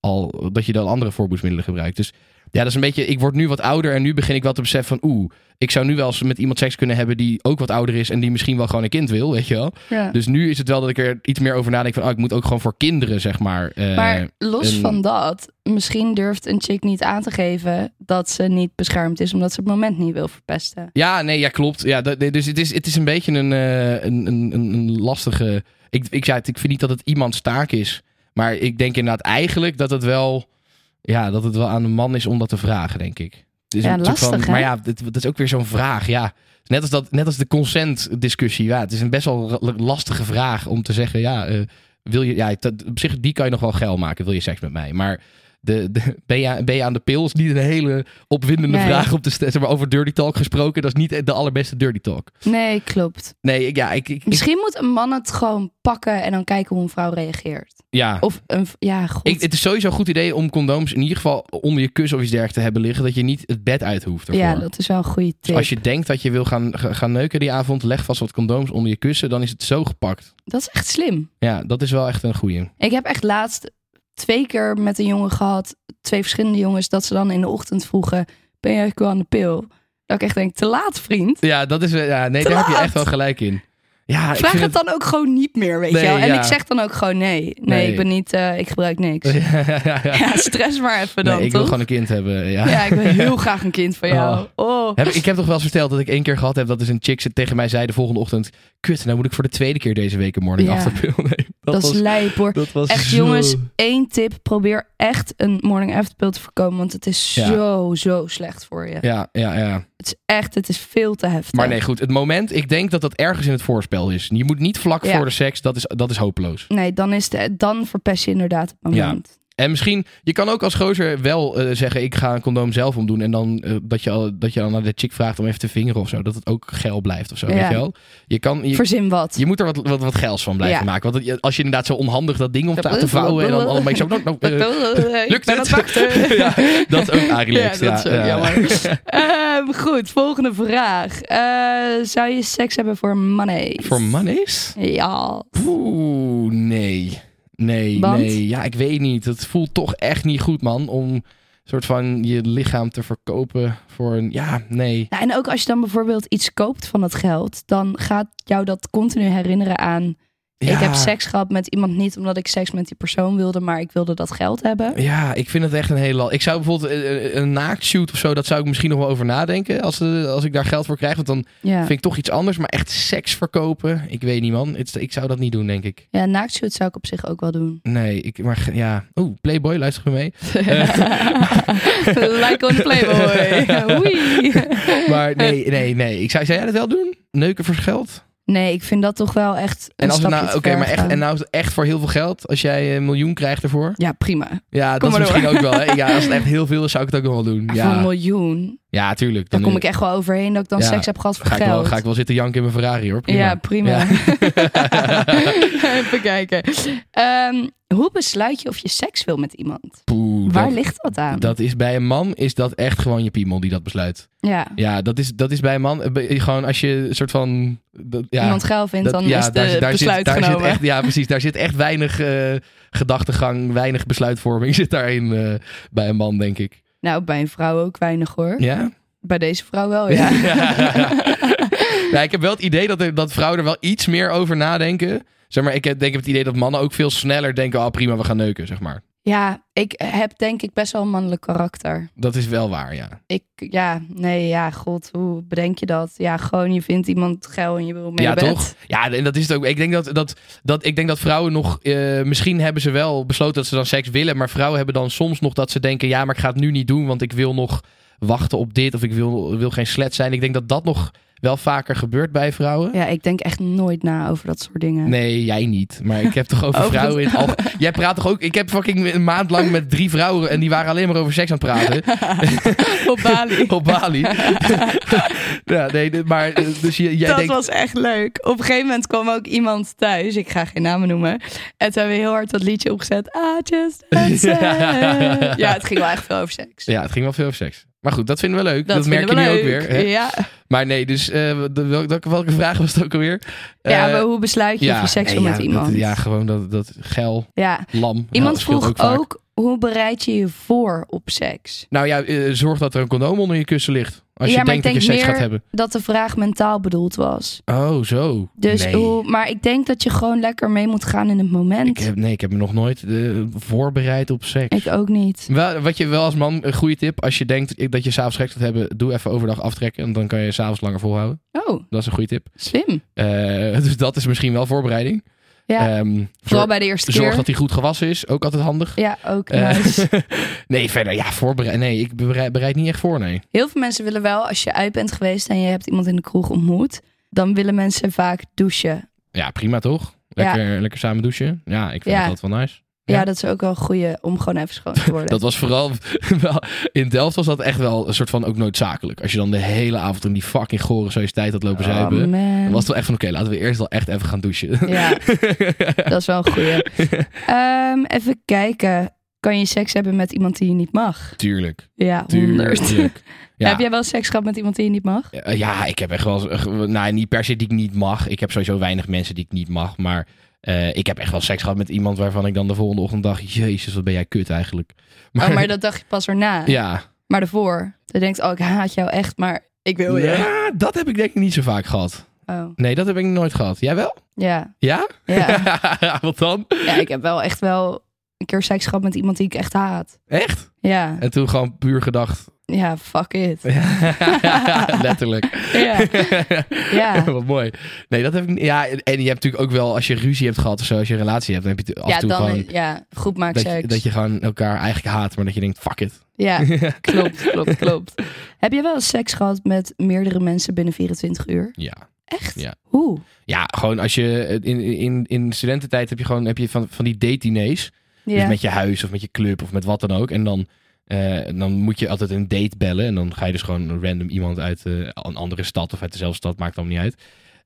[SPEAKER 1] al dat je dan andere voorbehoedsmiddelen gebruikt. Dus ja, dat is een beetje. Ik word nu wat ouder en nu begin ik wel te beseffen van oeh, ik zou nu wel eens met iemand seks kunnen hebben die ook wat ouder is en die misschien wel gewoon een kind wil, weet je wel.
[SPEAKER 2] Ja.
[SPEAKER 1] Dus nu is het wel dat ik er iets meer over nadenk van oh, ik moet ook gewoon voor kinderen zeg maar. eh,
[SPEAKER 2] maar los
[SPEAKER 1] een-
[SPEAKER 2] van dat, misschien durft een chick niet aan te geven dat ze niet beschermd is omdat ze het moment niet wil verpesten.
[SPEAKER 1] Ja, nee, ja, klopt. Ja, dat, nee, dus het is, het is een beetje een, eh, een, een, een- een lastige. Ik, ik zei het, ik vind niet dat het iemands taak is. Maar ik denk inderdaad eigenlijk dat het wel, ja, dat het wel aan de man is om dat te vragen, denk ik. Het is
[SPEAKER 2] Ja,
[SPEAKER 1] een soort
[SPEAKER 2] lastig, hè?
[SPEAKER 1] Maar ja, dit- dat is ook weer zo'n vraag. Ja. Net, als dat, net als de consent-discussie. Ja, het is een best wel r- lastige vraag om te zeggen: ja, eh, wil je, ja dat, op zich, die kan je nog wel geil maken. Wil je seks met mij? Maar de, de, ben, je, ben je aan de pil? Is niet een hele opwindende
[SPEAKER 2] Nee.
[SPEAKER 1] vraag op te stellen. Zeg maar over dirty talk gesproken, dat is niet de allerbeste dirty talk.
[SPEAKER 2] Nee, klopt.
[SPEAKER 1] Nee, ik, ja, ik, ik, ik-
[SPEAKER 2] Misschien moet een man het gewoon pakken en dan kijken hoe een vrouw reageert.
[SPEAKER 1] ja.
[SPEAKER 2] Of een, v- ja, goed.
[SPEAKER 1] Ik, het is sowieso een goed idee om condooms in ieder geval onder je kus of iets dergelijks te hebben liggen. Dat je niet het bed uit hoeft. Ervoor.
[SPEAKER 2] ja, dat is wel een goede
[SPEAKER 1] Dus
[SPEAKER 2] tip.
[SPEAKER 1] als je denkt dat je wil gaan, ga- gaan neuken die avond, leg vast wat condooms onder je kussen. Dan is het zo gepakt.
[SPEAKER 2] Dat is echt slim.
[SPEAKER 1] Ja, dat is wel echt een goeie.
[SPEAKER 2] Ik heb echt laatst twee keer met een jongen gehad, twee verschillende jongens, dat ze dan in de ochtend vroegen: Ben jij wel aan de pil? Dat ik echt denk: Te laat, vriend.
[SPEAKER 1] Ja, dat is, ja nee,
[SPEAKER 2] Te
[SPEAKER 1] daar heb je
[SPEAKER 2] laat.
[SPEAKER 1] echt wel gelijk in. Ja,
[SPEAKER 2] Vraag
[SPEAKER 1] ik
[SPEAKER 2] het
[SPEAKER 1] vind
[SPEAKER 2] dan ook gewoon niet meer, weet
[SPEAKER 1] Nee,
[SPEAKER 2] je wel. En
[SPEAKER 1] ja.
[SPEAKER 2] ik zeg dan ook gewoon: Nee, nee,
[SPEAKER 1] Nee.
[SPEAKER 2] ik ben niet, eh, ik gebruik niks. Ja,
[SPEAKER 1] ja, ja.
[SPEAKER 2] stress maar even
[SPEAKER 1] Nee,
[SPEAKER 2] dan,
[SPEAKER 1] ik wil
[SPEAKER 2] toch?
[SPEAKER 1] gewoon een kind hebben. Ja.
[SPEAKER 2] Ja, ik wil heel graag een kind van jou. Oh.
[SPEAKER 1] Heb, ik heb toch wel eens verteld dat ik één keer gehad heb dat dus een chick ze tegen mij zei de volgende ochtend: Kut, nou moet ik voor de tweede keer deze week een morning
[SPEAKER 2] Ja.
[SPEAKER 1] after pill nemen."
[SPEAKER 2] Dat, is lijp hoor.
[SPEAKER 1] dat was
[SPEAKER 2] Echt
[SPEAKER 1] zo-
[SPEAKER 2] jongens, één tip. Probeer echt een morning after pill te voorkomen. Want het is
[SPEAKER 1] Ja.
[SPEAKER 2] zo, zo slecht voor je.
[SPEAKER 1] Ja, ja, ja.
[SPEAKER 2] Het is echt, het is veel te heftig.
[SPEAKER 1] Maar nee, goed. Het moment, ik denk dat dat ergens in het voorspel is. Je moet niet vlak
[SPEAKER 2] Ja.
[SPEAKER 1] voor de seks, dat is, dat is hopeloos.
[SPEAKER 2] Nee, dan, is de, dan verpest je inderdaad het moment.
[SPEAKER 1] En misschien, je kan ook als gozer wel eh, zeggen: Ik ga een condoom zelf omdoen. En dan eh, dat, je al, dat je dan naar de chick vraagt om even te vingeren of zo. Dat het ook geil blijft of zo.
[SPEAKER 2] Ja.
[SPEAKER 1] Weet je wel? Je kan, je,
[SPEAKER 2] Verzin wat.
[SPEAKER 1] Je moet er wat, wat, wat geils van blijven
[SPEAKER 2] Ja.
[SPEAKER 1] maken. Want het- als je inderdaad zo onhandig dat ding om te, te vouwen en dan allemaal een beetje zo... nou, nou, eh,
[SPEAKER 2] Eh, ik
[SPEAKER 1] lukt
[SPEAKER 2] ben
[SPEAKER 1] het?
[SPEAKER 2] aan wachten.
[SPEAKER 1] ja, dat is ook aangeleerd.
[SPEAKER 2] Ja, dat is ook jammer. Ehm, goed, volgende vraag. Eh, zou je seks hebben voor money?
[SPEAKER 1] Voor manis?
[SPEAKER 2] Ja.
[SPEAKER 1] Oeh, nee. Nee,
[SPEAKER 2] Want?
[SPEAKER 1] nee. Ja, ik weet niet. Het voelt toch echt niet goed, man. Om soort van je lichaam te verkopen voor een... Ja, nee.
[SPEAKER 2] Nou, en ook als je dan bijvoorbeeld iets koopt van dat geld, dan gaat jou dat continu herinneren aan.
[SPEAKER 1] Ja.
[SPEAKER 2] Ik heb seks gehad met iemand niet omdat ik seks met die persoon wilde, maar ik wilde dat geld hebben.
[SPEAKER 1] Ja, ik vind het echt een hele last. Ik zou bijvoorbeeld eh, een naaktshoot of zo, dat zou ik misschien nog wel over nadenken. Als, eh, als ik daar geld voor krijg. Want dan
[SPEAKER 2] Ja,
[SPEAKER 1] Vind ik toch iets anders, maar echt seks verkopen? Ik weet niet, man. Het- ik zou dat niet doen, denk ik.
[SPEAKER 2] ja naaktshoot zou ik op zich ook wel doen.
[SPEAKER 1] Nee, ik, maar ge- ja. Oeh, Playboy, luister me mee.
[SPEAKER 2] like on the Playboy. Oei.
[SPEAKER 1] Maar nee, nee, nee. Ik zou, zou jij dat wel doen? Neuken voor geld?
[SPEAKER 2] Nee, ik vind dat toch wel echt een
[SPEAKER 1] En als het
[SPEAKER 2] stapje te
[SPEAKER 1] nou, oké,
[SPEAKER 2] ver
[SPEAKER 1] maar echt,
[SPEAKER 2] gaan.
[SPEAKER 1] en nou is het echt voor heel veel geld, als jij eh, een miljoen krijgt ervoor.
[SPEAKER 2] Ja, prima.
[SPEAKER 1] Ja,
[SPEAKER 2] Kom
[SPEAKER 1] dat is
[SPEAKER 2] maar door.
[SPEAKER 1] misschien ook wel. Hè? Ja, als het echt heel veel is, zou ik het ook nog wel doen.
[SPEAKER 2] Voor een
[SPEAKER 1] Ja,
[SPEAKER 2] miljoen.
[SPEAKER 1] ja tuurlijk.
[SPEAKER 2] Dan kom ik
[SPEAKER 1] eh,
[SPEAKER 2] echt wel overheen dat ik dan
[SPEAKER 1] Ja,
[SPEAKER 2] seks heb gehad voor
[SPEAKER 1] ga ik,
[SPEAKER 2] geld.
[SPEAKER 1] wel, ga ik wel zitten janken in mijn Ferrari, hoor. Prima.
[SPEAKER 2] Ja, prima.
[SPEAKER 1] Ja.
[SPEAKER 2] Even kijken. Ehm, hoe besluit je of je seks wil met iemand?
[SPEAKER 1] Poeh,
[SPEAKER 2] Waar
[SPEAKER 1] dat-
[SPEAKER 2] ligt dat aan?
[SPEAKER 1] dat is bij een man is dat echt gewoon je piemel die dat besluit.
[SPEAKER 2] ja.
[SPEAKER 1] Ja, dat is, dat is bij een man. eh, bij- Gewoon als je een soort van. dat- ja,
[SPEAKER 2] iemand geil vindt,
[SPEAKER 1] dat-
[SPEAKER 2] dan
[SPEAKER 1] ja,
[SPEAKER 2] is de
[SPEAKER 1] zit-
[SPEAKER 2] besluit
[SPEAKER 1] zit, daar
[SPEAKER 2] genomen.
[SPEAKER 1] Zit echt, ja, precies. Daar zit echt weinig eh, gedachtegang, weinig besluitvorming zit daarin eh, bij een man, denk ik.
[SPEAKER 2] Oh, Nou, bij een vrouw ook weinig hoor.
[SPEAKER 1] Ja?
[SPEAKER 2] Bij deze vrouw wel, ja.
[SPEAKER 1] Ja, ik heb wel het idee dat, er- dat vrouwen er wel iets meer over nadenken. Zeg maar, ik heb, denk, heb het idee dat mannen ook veel sneller denken... ah prima, we gaan neuken, zeg maar.
[SPEAKER 2] Ja, ik heb denk ik best wel een mannelijk karakter.
[SPEAKER 1] Dat is wel waar, ja.
[SPEAKER 2] Ik, ja, nee, ja, god, hoe bedenk je dat? Ja, gewoon je vindt iemand geil en je wil mee
[SPEAKER 1] ja,
[SPEAKER 2] naar bed.
[SPEAKER 1] toch? Ja, en dat is het ook. Ik denk dat, dat, dat, ik denk dat vrouwen nog... eh, misschien hebben ze wel besloten dat ze dan seks willen... maar vrouwen hebben dan soms nog dat ze denken... ja, maar ik ga het nu niet doen, want ik wil nog wachten op dit... of ik wil, wil geen slet zijn. Ik denk dat dat nog wel vaker gebeurt bij vrouwen.
[SPEAKER 2] Ja, ik denk echt nooit na over dat soort dingen.
[SPEAKER 1] Nee, jij niet. Maar ik heb toch over
[SPEAKER 2] Over-
[SPEAKER 1] vrouwen in het algemeen. Jij praat toch ook... Ik heb fucking een maand lang met drie vrouwen... en die waren alleen maar over seks aan het praten.
[SPEAKER 2] Op Bali.
[SPEAKER 1] op Bali. ja, nee, dit- maar eh, dus je- jij
[SPEAKER 2] dat
[SPEAKER 1] denkt...
[SPEAKER 2] was echt leuk. Op een gegeven moment kwam ook iemand thuis. Ik ga geen namen noemen. En toen hebben we heel hard dat liedje opgezet. I just had sex.
[SPEAKER 1] Ja.
[SPEAKER 2] Ja, het ging wel echt veel over seks.
[SPEAKER 1] Ja, het ging wel veel over seks. Maar goed, dat vinden we leuk. Dat, merk je
[SPEAKER 2] vinden
[SPEAKER 1] nu
[SPEAKER 2] we
[SPEAKER 1] ook
[SPEAKER 2] leuk.
[SPEAKER 1] weer. hè?
[SPEAKER 2] Ja,
[SPEAKER 1] Maar nee, dus eh, de- wel- welke, welke vraag was het ook alweer?
[SPEAKER 2] ja
[SPEAKER 1] Eh,
[SPEAKER 2] maar hoe besluit je of je seks
[SPEAKER 1] nee,
[SPEAKER 2] wil
[SPEAKER 1] ja,
[SPEAKER 2] met
[SPEAKER 1] dat-
[SPEAKER 2] iemand?
[SPEAKER 1] ja, gewoon dat, dat geil,
[SPEAKER 2] Ja.
[SPEAKER 1] lam. Ja,
[SPEAKER 2] Iemand
[SPEAKER 1] dat scheelt
[SPEAKER 2] vroeg ook,
[SPEAKER 1] vaak.
[SPEAKER 2] hoe bereid je je voor op seks?
[SPEAKER 1] Nou ja, eh, zorg dat er een condoom onder je kussen ligt. Als
[SPEAKER 2] ja,
[SPEAKER 1] je
[SPEAKER 2] maar
[SPEAKER 1] denkt dat
[SPEAKER 2] ik
[SPEAKER 1] je
[SPEAKER 2] denk
[SPEAKER 1] seks
[SPEAKER 2] meer
[SPEAKER 1] gaat hebben.
[SPEAKER 2] dat de vraag mentaal bedoeld was.
[SPEAKER 1] Oh, zo.
[SPEAKER 2] Dus
[SPEAKER 1] Nee.
[SPEAKER 2] hoe, maar ik denk dat je gewoon lekker mee moet gaan in het moment.
[SPEAKER 1] Ik heb, nee, ik heb me nog nooit eh, voorbereid op seks.
[SPEAKER 2] Ik ook niet.
[SPEAKER 1] Wel, wat je wel als man, een goede tip. Als je denkt dat je s'avonds seks gaat hebben, doe even overdag aftrekken. En dan kan je s'avonds langer volhouden.
[SPEAKER 2] Oh,
[SPEAKER 1] Dat is een goede tip.
[SPEAKER 2] slim.
[SPEAKER 1] Eh, dus dat is misschien wel voorbereiding.
[SPEAKER 2] Ja,
[SPEAKER 1] Ehm,
[SPEAKER 2] vooral
[SPEAKER 1] zorg,
[SPEAKER 2] bij de eerste
[SPEAKER 1] zorg
[SPEAKER 2] keer.
[SPEAKER 1] dat hij goed gewassen is. Ook altijd handig.
[SPEAKER 2] Ja, ook Nou, dus
[SPEAKER 1] Eh,
[SPEAKER 2] nice.
[SPEAKER 1] nee, verder. Ja, voorbereid. Nee, ik bereid, bereid niet echt voor, nee.
[SPEAKER 2] Heel veel mensen willen wel, als je uit bent geweest en je hebt iemand in de kroeg ontmoet, dan willen mensen vaak douchen.
[SPEAKER 1] Ja, prima toch? Lekker, lekker samen douchen. Ja, ik vind
[SPEAKER 2] Ja.
[SPEAKER 1] dat wel nice.
[SPEAKER 2] Ja,
[SPEAKER 1] Ja.
[SPEAKER 2] dat is ook wel een goede om gewoon even schoon te worden.
[SPEAKER 1] Dat was vooral wel- in Delft was dat echt wel een soort van ook noodzakelijk. Als je dan de hele avond in die fucking gore sociëteit had lopen
[SPEAKER 2] Oh,
[SPEAKER 1] zuipen,
[SPEAKER 2] man.
[SPEAKER 1] dan was het wel echt van oké, laten we eerst wel echt even gaan douchen.
[SPEAKER 2] Ja, dat is wel een goede. even kijken. Kan je seks hebben met iemand die je niet mag?
[SPEAKER 1] Tuurlijk.
[SPEAKER 2] Ja, honderd.
[SPEAKER 1] Tuurlijk. Ja.
[SPEAKER 2] Heb jij wel seks gehad met iemand die je niet mag?
[SPEAKER 1] Eh, Ja, ik heb echt wel. eh, Nou, niet per se die ik niet mag. Ik heb sowieso weinig mensen die ik niet mag. Maar eh, ik heb echt wel seks gehad met iemand waarvan ik dan de volgende ochtend dacht: Jezus, wat ben jij kut eigenlijk.
[SPEAKER 2] Maar, oh, maar dat dacht je pas erna.
[SPEAKER 1] Ja.
[SPEAKER 2] Maar daarvoor. Je denkt, oh, ik haat jou echt, maar ik wil je.
[SPEAKER 1] ja, Ah, dat heb ik denk ik niet zo vaak gehad.
[SPEAKER 2] Oh,
[SPEAKER 1] Nee, dat heb ik nooit gehad. Jij wel?
[SPEAKER 2] ja.
[SPEAKER 1] Ja?
[SPEAKER 2] Ja.
[SPEAKER 1] wat dan?
[SPEAKER 2] ja, ik heb wel echt wel een keer seks gehad met iemand die ik echt haat.
[SPEAKER 1] Echt?
[SPEAKER 2] Ja,
[SPEAKER 1] En toen gewoon puur gedacht.
[SPEAKER 2] ja, fuck it.
[SPEAKER 1] Letterlijk.
[SPEAKER 2] Ja, ja.
[SPEAKER 1] Wat mooi. Nee, dat heb ik niet. Ja, en en je hebt natuurlijk ook wel, als je ruzie hebt gehad of zo, als je een relatie hebt, dan heb je af en
[SPEAKER 2] Ja,
[SPEAKER 1] toe
[SPEAKER 2] dan,
[SPEAKER 1] gewoon.
[SPEAKER 2] ja, goed maak
[SPEAKER 1] Dat je,
[SPEAKER 2] seks.
[SPEAKER 1] dat je gewoon elkaar eigenlijk haat, maar dat je denkt, fuck it.
[SPEAKER 2] Ja, klopt, klopt, klopt. Heb je wel eens seks gehad met meerdere mensen binnen 24 uur?
[SPEAKER 1] Ja.
[SPEAKER 2] Echt?
[SPEAKER 1] Ja.
[SPEAKER 2] Hoe?
[SPEAKER 1] Ja, gewoon als je in, in, in studententijd heb je gewoon heb je van, van die date diners. Dus
[SPEAKER 2] Ja.
[SPEAKER 1] met je huis of met je club of met wat dan ook. En dan, eh, dan moet je altijd een date bellen. En dan ga je dus gewoon random iemand uit eh, een andere stad of uit dezelfde stad, maakt dan niet uit.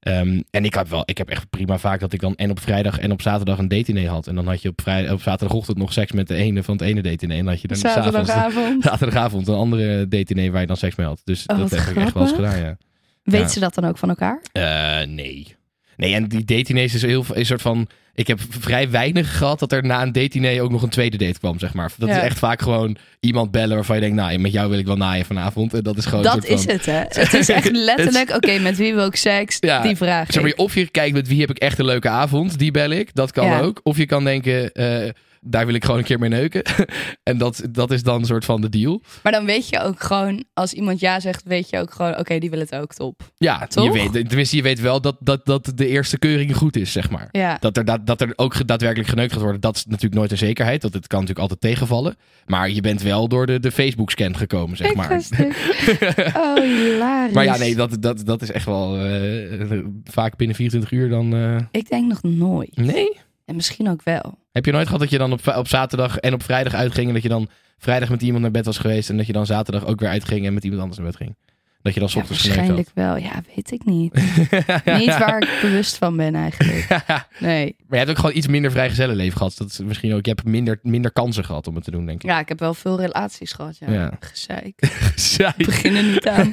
[SPEAKER 1] Ehm, en ik heb wel, ik heb echt prima vaak dat ik dan en op vrijdag en op zaterdag een date diner had. En dan had je op, vrij, op zaterdagochtend nog seks met de ene van het ene date diner. En dan had je dan s'avonds-
[SPEAKER 2] Zaterdagavond.
[SPEAKER 1] zaterdagavond een andere date diner waar je dan seks mee had. Dus
[SPEAKER 2] Oh,
[SPEAKER 1] dat
[SPEAKER 2] wat
[SPEAKER 1] heb ik echt wel eens
[SPEAKER 2] grappig.
[SPEAKER 1] gedaan, ja.
[SPEAKER 2] Weet
[SPEAKER 1] Ja.
[SPEAKER 2] ze dat dan ook van elkaar?
[SPEAKER 1] Eh, nee. Nee, en die date diners is heel is een soort van. Ik heb vrij weinig gehad dat er na een date diner ook nog een tweede date kwam, zeg maar. Dat
[SPEAKER 2] Ja.
[SPEAKER 1] is echt vaak gewoon iemand bellen waarvan je denkt, nou, met jou wil ik wel naaien vanavond. En dat is gewoon. een
[SPEAKER 2] Dat
[SPEAKER 1] soort van,
[SPEAKER 2] is het, hè? Het is echt letterlijk, oké, met wie wil ik seks?
[SPEAKER 1] Ja,
[SPEAKER 2] Die vraag.
[SPEAKER 1] Zeg maar,
[SPEAKER 2] ik.
[SPEAKER 1] of je kijkt met wie heb ik echt een leuke avond, die bel ik, dat kan
[SPEAKER 2] Ja.
[SPEAKER 1] ook. Of je kan denken, eh, daar wil ik gewoon een keer mee neuken. en dat, dat is dan een soort van de deal.
[SPEAKER 2] Maar dan weet je ook gewoon, als iemand ja zegt, weet je ook gewoon, oké, die wil het ook top.
[SPEAKER 1] Ja, je
[SPEAKER 2] Toch?
[SPEAKER 1] weet, tenminste, je weet wel dat, dat, dat de eerste keuring goed is, zeg maar.
[SPEAKER 2] Ja,
[SPEAKER 1] Dat er, dat, dat er ook ge- daadwerkelijk geneukt gaat worden, dat is natuurlijk nooit een zekerheid. Want het kan natuurlijk altijd tegenvallen. Maar je bent wel door de, de Facebook-scan gekomen, zeg
[SPEAKER 2] ik
[SPEAKER 1] maar.
[SPEAKER 2] ga stuk. Oh, hilarisch.
[SPEAKER 1] Maar ja, nee, dat, dat, dat is echt wel eh, vaak binnen 24 uur dan... eh,
[SPEAKER 2] Ik denk nog nooit.
[SPEAKER 1] Nee?
[SPEAKER 2] En misschien ook wel.
[SPEAKER 1] Heb je nooit gehad dat je dan op, va- op zaterdag en op vrijdag uitging... en dat je dan vrijdag met iemand naar bed was geweest... en dat je dan zaterdag ook weer uitging en met iemand anders naar bed ging? Dat je dan 's
[SPEAKER 2] Ja,
[SPEAKER 1] ochtends geneukt
[SPEAKER 2] waarschijnlijk wel. Ja, weet ik niet. niet waar ik bewust van ben eigenlijk.
[SPEAKER 1] had?
[SPEAKER 2] Nee.
[SPEAKER 1] maar je hebt ook gewoon iets minder vrijgezellenleven gehad. Dat is misschien ook... Je hebt minder, minder kansen gehad om het te doen, denk ik.
[SPEAKER 2] Ja, ik heb wel veel relaties gehad, ja.
[SPEAKER 1] Ja.
[SPEAKER 2] Gezeik.
[SPEAKER 1] Zij-
[SPEAKER 2] Begin er niet aan.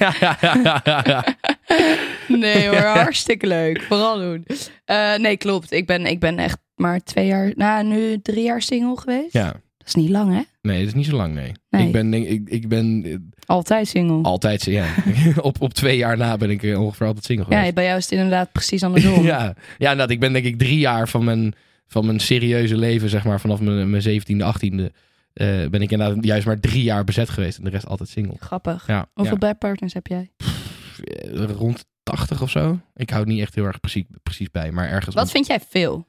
[SPEAKER 2] Nee hoor, hartstikke leuk. Vooral doen. Eh, nee, klopt. Ik ben, ik ben echt maar twee jaar, nou nu drie jaar single geweest.
[SPEAKER 1] ja.
[SPEAKER 2] Dat is niet lang, hè?
[SPEAKER 1] Nee, dat is niet zo lang, nee.
[SPEAKER 2] Nee.
[SPEAKER 1] Ik, ben, denk- ik, ik ben eh,
[SPEAKER 2] Altijd single.
[SPEAKER 1] altijd... Ja, op, op twee jaar na ben ik eh, ongeveer altijd single geweest.
[SPEAKER 2] ja, bij jou is het inderdaad precies andersom.
[SPEAKER 1] Ja, ja inderdaad. Ik ben denk ik drie jaar van mijn, van mijn serieuze leven, zeg maar, vanaf mijn, mijn 17e, 18e, eh, ben ik inderdaad juist maar drie jaar bezet geweest en de rest altijd single.
[SPEAKER 2] Grappig.
[SPEAKER 1] Ja,
[SPEAKER 2] Hoeveel
[SPEAKER 1] ja.
[SPEAKER 2] bedpartners heb jij?
[SPEAKER 1] Eh, rond 80 of zo. Ik hou het niet echt heel erg precies, precies bij, maar ergens.
[SPEAKER 2] Wat vind jij veel?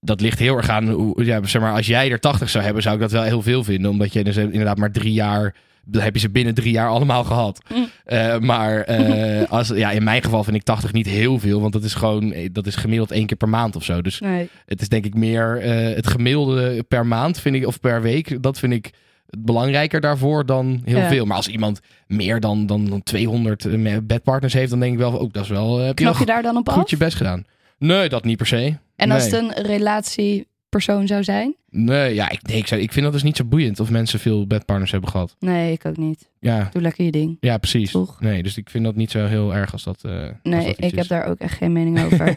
[SPEAKER 1] Dat ligt heel erg aan, hoe, ja, zeg maar, als jij er 80 zou hebben, zou ik dat wel heel veel vinden, omdat je dus inderdaad maar drie jaar. Dan heb je ze binnen drie jaar allemaal gehad.
[SPEAKER 2] Mm.
[SPEAKER 1] Eh, maar eh, als, ja, in mijn geval vind ik 80 niet heel veel. Want dat is gewoon eh, dat is gemiddeld één keer per maand of zo. Dus
[SPEAKER 2] Nee.
[SPEAKER 1] Het is denk ik meer eh, het gemiddelde per maand, vind ik, of per week. Dat vind ik belangrijker daarvoor dan heel
[SPEAKER 2] Ja.
[SPEAKER 1] veel. Maar als iemand meer dan, dan, dan 200 me- bedpartners heeft, dan denk ik wel, van, oh, dat is wel. eh, heb je
[SPEAKER 2] Knap
[SPEAKER 1] wel
[SPEAKER 2] je daar dan op
[SPEAKER 1] goed
[SPEAKER 2] af?
[SPEAKER 1] je best gedaan? Nee, dat niet per se.
[SPEAKER 2] En als
[SPEAKER 1] Nee.
[SPEAKER 2] het een relatiepersoon zou zijn?
[SPEAKER 1] Nee, ja, ik, nee, ik, zou, ik vind dat dus niet zo boeiend of mensen veel bedpartners hebben gehad.
[SPEAKER 2] Nee, ik ook niet.
[SPEAKER 1] Ja,
[SPEAKER 2] Doe lekker je ding.
[SPEAKER 1] ja precies.
[SPEAKER 2] Toch?
[SPEAKER 1] Nee, dus ik vind dat niet zo heel erg als dat. eh, als
[SPEAKER 2] Nee,
[SPEAKER 1] dat iets
[SPEAKER 2] ik heb
[SPEAKER 1] is.
[SPEAKER 2] daar ook echt geen mening over.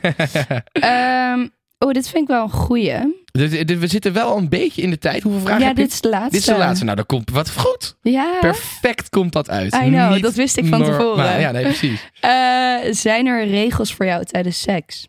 [SPEAKER 2] Ehm, oh, dit vind ik wel een goeie.
[SPEAKER 1] Dus, dit- we zitten wel een beetje in de tijd. Hoeveel vragen
[SPEAKER 2] ja,
[SPEAKER 1] heb je?
[SPEAKER 2] dit is de laatste.
[SPEAKER 1] Dit is de laatste. Nou, dat komt wat goed.
[SPEAKER 2] Ja.
[SPEAKER 1] Perfect komt dat uit.
[SPEAKER 2] I know,
[SPEAKER 1] Niet
[SPEAKER 2] dat wist ik van
[SPEAKER 1] normaal.
[SPEAKER 2] tevoren.
[SPEAKER 1] Ja, nee, precies.
[SPEAKER 2] Eh, zijn er regels voor jou tijdens seks?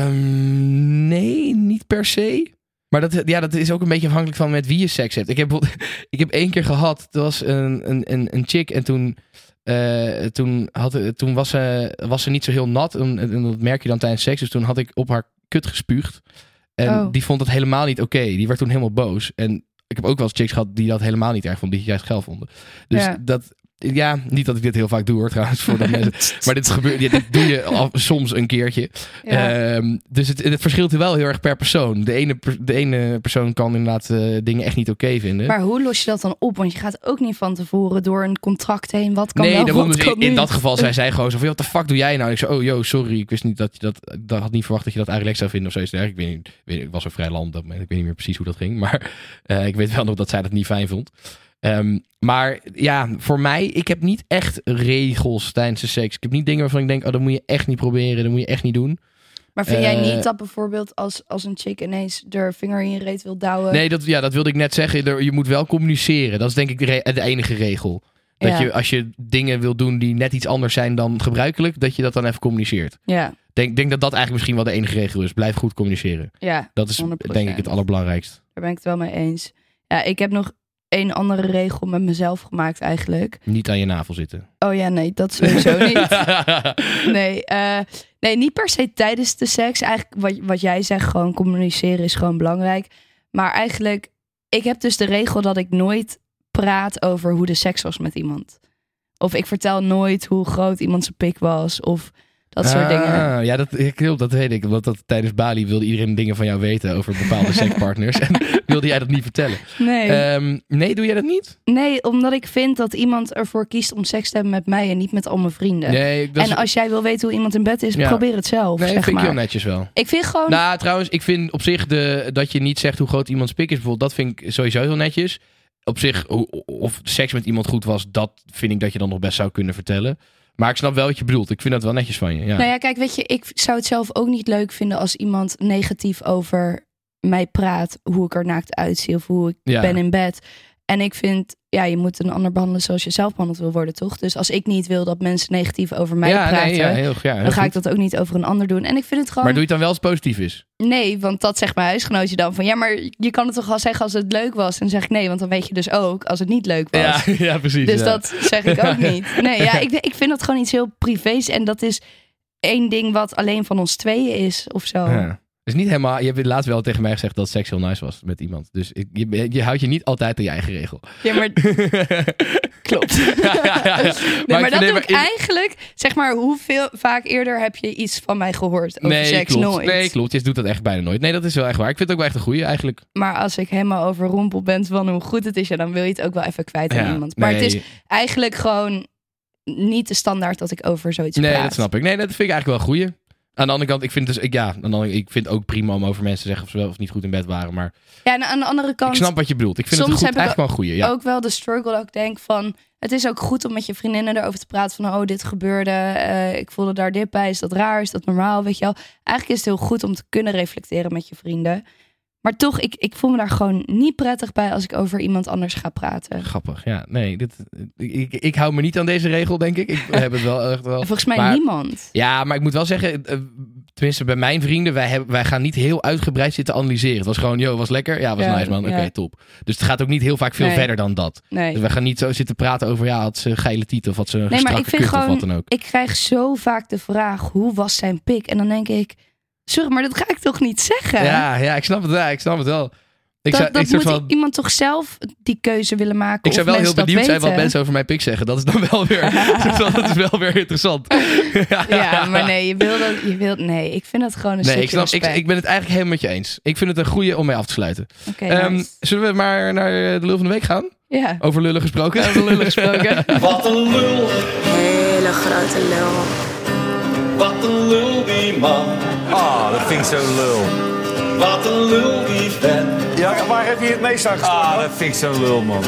[SPEAKER 1] Ehm, nee, niet per se. Maar dat, ja, dat is ook een beetje afhankelijk van met wie je seks hebt. Ik heb, bijvoorbeeld- ik heb één keer gehad, er was een, een, een, een chick en toen, eh, toen, had, toen was, ze, was ze niet zo heel nat. En, en dat merk je dan tijdens seks. Dus toen had ik op haar kut gespuugd. En
[SPEAKER 2] Oh.
[SPEAKER 1] die vond dat helemaal niet oké. Die werd toen helemaal boos. En ik heb ook wel eens chicks gehad die dat helemaal niet erg vonden. Die het juist geil vonden. Dus
[SPEAKER 2] Ja.
[SPEAKER 1] dat... Ja, niet dat ik dit heel vaak doe hoor trouwens. Voor de mensen. Maar dit, gebeurt, dit dit doe je al- soms een keertje.
[SPEAKER 2] Ja.
[SPEAKER 1] Ehm, dus het, het verschilt wel heel erg per persoon. De ene, per- de ene persoon kan inderdaad eh, dingen echt niet oké vinden.
[SPEAKER 2] maar hoe los je dat dan op? Want je gaat ook niet van tevoren door een contract heen. Wat kan
[SPEAKER 1] nee,
[SPEAKER 2] wel,
[SPEAKER 1] daarom
[SPEAKER 2] wat
[SPEAKER 1] dus
[SPEAKER 2] kan
[SPEAKER 1] in, in
[SPEAKER 2] niet?
[SPEAKER 1] dat geval zei zij gewoon zo van... "Joh, What the fuck doe jij nou? En ik zei, oh yo, sorry. Ik wist niet dat je dat... Ik had niet verwacht dat je dat eigenlijk zou vinden of zoiets dergelijks. Ik, weet niet, weet, ik was ook vrij lam op dat moment. Ik weet niet meer precies hoe dat ging. Maar eh, ik weet wel nog dat zij dat niet fijn vond. Ehm, maar ja, voor mij... Ik heb niet echt regels tijdens de seks. Ik heb niet dingen waarvan ik denk... Oh, dat moet je echt niet proberen. Dat moet je echt niet doen.
[SPEAKER 2] Maar vind jij
[SPEAKER 1] Eh,
[SPEAKER 2] niet dat bijvoorbeeld als, als een chick ineens de vinger in je reet wil douwen?
[SPEAKER 1] Nee, dat, ja, dat wilde ik net zeggen. Er- Je moet wel communiceren. Dat is denk ik de, re- de enige regel. Dat
[SPEAKER 2] Ja.
[SPEAKER 1] je als je dingen wil doen die net iets anders zijn dan gebruikelijk, dat je dat dan even communiceert.
[SPEAKER 2] Ja,
[SPEAKER 1] Denk, denk dat dat eigenlijk misschien wel de enige regel is. Blijf goed communiceren.
[SPEAKER 2] ja,
[SPEAKER 1] Dat is
[SPEAKER 2] 100%.
[SPEAKER 1] denk ik het allerbelangrijkste.
[SPEAKER 2] daar ben ik het wel mee eens. Ja, ik heb nog één andere regel met mezelf gemaakt eigenlijk.
[SPEAKER 1] Niet aan je navel zitten.
[SPEAKER 2] Oh ja, nee, dat sowieso niet. Nee, eh, nee, niet per se tijdens de seks. Eigenlijk wat, wat jij zegt, gewoon communiceren is gewoon belangrijk. Maar eigenlijk, ik heb dus de regel dat ik nooit praat over hoe de seks was met iemand. Of ik vertel nooit hoe groot iemand zijn pik was. Of dat soort dingen.
[SPEAKER 1] Ah, Ja, dat ja, klopt. Dat weet ik. Omdat dat, tijdens Bali wilde iedereen dingen van jou weten over bepaalde sekspartners. en wilde jij dat niet vertellen.
[SPEAKER 2] Nee.
[SPEAKER 1] Ehm, nee, doe jij dat niet?
[SPEAKER 2] nee, omdat ik vind dat iemand ervoor kiest om seks te hebben met mij en niet met al mijn vrienden.
[SPEAKER 1] Nee, dat is-
[SPEAKER 2] en als jij wil weten hoe iemand in bed is,
[SPEAKER 1] Ja.
[SPEAKER 2] probeer het zelf.
[SPEAKER 1] nee,
[SPEAKER 2] zeg
[SPEAKER 1] vind ik heel
[SPEAKER 2] maar.
[SPEAKER 1] netjes wel.
[SPEAKER 2] ik vind gewoon.
[SPEAKER 1] Nou, trouwens, ik vind op zich de, dat je niet zegt hoe groot iemands pik is, bijvoorbeeld, dat vind ik sowieso heel netjes. Op zich, hoe- of seks met iemand goed was, dat vind ik dat je dan nog best zou kunnen vertellen. Maar ik snap wel wat je bedoelt. Ik vind dat wel netjes van je. Ja.
[SPEAKER 2] Nou ja, kijk, weet je, ik zou het zelf ook niet leuk vinden als iemand negatief over mij praat. Hoe ik er naakt uitzie of hoe ik
[SPEAKER 1] Ja.
[SPEAKER 2] ben in bed. En ik vind, ja, je moet een ander behandelen zoals je zelf behandeld wil worden, toch? Dus als ik niet wil dat mensen negatief over mij
[SPEAKER 1] ja,
[SPEAKER 2] praten,
[SPEAKER 1] nee, ja, heel, ja, heel
[SPEAKER 2] dan ga
[SPEAKER 1] goed.
[SPEAKER 2] ik dat ook niet over een ander doen. En ik vind het gewoon,
[SPEAKER 1] Maar doe je het dan wel als het positief is?
[SPEAKER 2] nee, want dat zegt mijn huisgenootje dan van, ja, maar je kan het toch wel zeggen als het leuk was? En dan zeg ik nee, want dan weet je dus ook als het niet leuk was.
[SPEAKER 1] ja precies.
[SPEAKER 2] Dus dat zeg ik ook niet. Nee, ja, ik, ik vind dat gewoon iets heel privés. En dat is één ding wat alleen van ons tweeën is of zo.
[SPEAKER 1] Dus niet helemaal, je hebt laatst wel tegen mij gezegd dat seks heel nice was met iemand. Dus ik- je, je houdt je niet altijd aan je eigen regel.
[SPEAKER 2] Ja, maar klopt.
[SPEAKER 1] Ja, ja, ja. Maar ik
[SPEAKER 2] Nee, maar,
[SPEAKER 1] vind-
[SPEAKER 2] dat
[SPEAKER 1] nee,
[SPEAKER 2] doe
[SPEAKER 1] maar
[SPEAKER 2] ik
[SPEAKER 1] in-
[SPEAKER 2] eigenlijk... Zeg maar, hoeveel vaak eerder heb je iets van mij gehoord over seks?
[SPEAKER 1] klopt.
[SPEAKER 2] Nooit.
[SPEAKER 1] Nee, klopt. Je doet dat echt bijna nooit. Nee, dat is wel echt waar. Ik vind het ook wel echt een goeie eigenlijk.
[SPEAKER 2] Maar als ik helemaal overrompeld ben van hoe goed het is... Ja, dan wil je het ook wel even kwijt aan
[SPEAKER 1] Ja,
[SPEAKER 2] iemand. Maar het
[SPEAKER 1] nee.
[SPEAKER 2] is eigenlijk gewoon niet de standaard dat ik over zoiets
[SPEAKER 1] Nee,
[SPEAKER 2] praat.
[SPEAKER 1] dat snap ik. Nee, dat vind ik eigenlijk wel een goeie. Aan de andere kant, ik vind het dus, ik, ja, aan de andere- ik vind het ook prima om over mensen te zeggen of ze wel of niet goed in bed waren. Maar
[SPEAKER 2] Ja, en aan de andere kant...
[SPEAKER 1] ik snap wat je bedoelt. Ik vind het
[SPEAKER 2] soms
[SPEAKER 1] goed,
[SPEAKER 2] heb ik
[SPEAKER 1] eigenlijk wel een goeie. Ja.
[SPEAKER 2] ook wel de struggle dat ik denk van... Het is ook goed om met je vriendinnen erover te praten van... oh, dit gebeurde, eh, ik voelde daar dit bij. Is dat raar? Is dat normaal? Weet je wel. Eigenlijk is het heel goed om te kunnen reflecteren met je vrienden. Maar toch, ik, ik voel me daar gewoon niet prettig bij als ik over iemand anders ga praten.
[SPEAKER 1] Grappig, ja. Nee, dit, ik, ik, ik hou me niet aan deze regel, denk ik. Ik heb het wel echt wel.
[SPEAKER 2] En volgens mij
[SPEAKER 1] maar-
[SPEAKER 2] niemand.
[SPEAKER 1] Ja, maar ik moet wel zeggen, eh, tenminste bij mijn vrienden, wij, hebben, wij gaan niet heel uitgebreid zitten analyseren. Het was gewoon, yo, was lekker. Ja, was
[SPEAKER 2] Ja,
[SPEAKER 1] nice man. Oké,
[SPEAKER 2] ja.
[SPEAKER 1] top. Dus het gaat ook niet heel vaak veel
[SPEAKER 2] Nee.
[SPEAKER 1] verder dan dat.
[SPEAKER 2] Nee.
[SPEAKER 1] Dus we gaan niet zo zitten praten over, ja, had ze een geile titel of had ze een
[SPEAKER 2] Nee, maar
[SPEAKER 1] strakke
[SPEAKER 2] ik vind
[SPEAKER 1] kut of
[SPEAKER 2] gewoon,
[SPEAKER 1] wat dan ook.
[SPEAKER 2] ik krijg zo vaak de vraag, hoe was zijn pik? En dan denk ik, sorry, maar dat ga ik toch niet zeggen?
[SPEAKER 1] Ja, ja, ik snap het, ja, ik snap het wel. Ik
[SPEAKER 2] dat
[SPEAKER 1] zou,
[SPEAKER 2] dat
[SPEAKER 1] ik soort
[SPEAKER 2] moet
[SPEAKER 1] van-
[SPEAKER 2] iemand toch zelf die keuze willen maken
[SPEAKER 1] ik zou
[SPEAKER 2] of
[SPEAKER 1] wel heel
[SPEAKER 2] mensen dat
[SPEAKER 1] benieuwd zijn wat
[SPEAKER 2] weten.
[SPEAKER 1] mensen over mijn pik zeggen. Dat is dan wel weer, soort van, dat is wel weer interessant.
[SPEAKER 2] Ja, maar nee, je wil dat, je wil, nee, ik vind dat gewoon een
[SPEAKER 1] Nee,
[SPEAKER 2] stukje
[SPEAKER 1] ik, snap, ik,
[SPEAKER 2] respect.
[SPEAKER 1] ik ben het eigenlijk helemaal met je eens. Ik vind het een goeie om mee af te sluiten.
[SPEAKER 2] Oké,
[SPEAKER 1] Ehm, oh,
[SPEAKER 2] nice.
[SPEAKER 1] zullen we maar naar eh, de lul van de week gaan?
[SPEAKER 2] Ja,
[SPEAKER 1] Over lullen gesproken.
[SPEAKER 2] over lullen gesproken.
[SPEAKER 5] Wat een lul,
[SPEAKER 6] Hele grote lul.
[SPEAKER 5] wat een lul die man.
[SPEAKER 7] Ah, dat vind ik zo lul.
[SPEAKER 5] Wat een lul die vent.
[SPEAKER 7] Ja, waar heb je het meest aan gestoken? Ah, dat vind ik zo lul, man.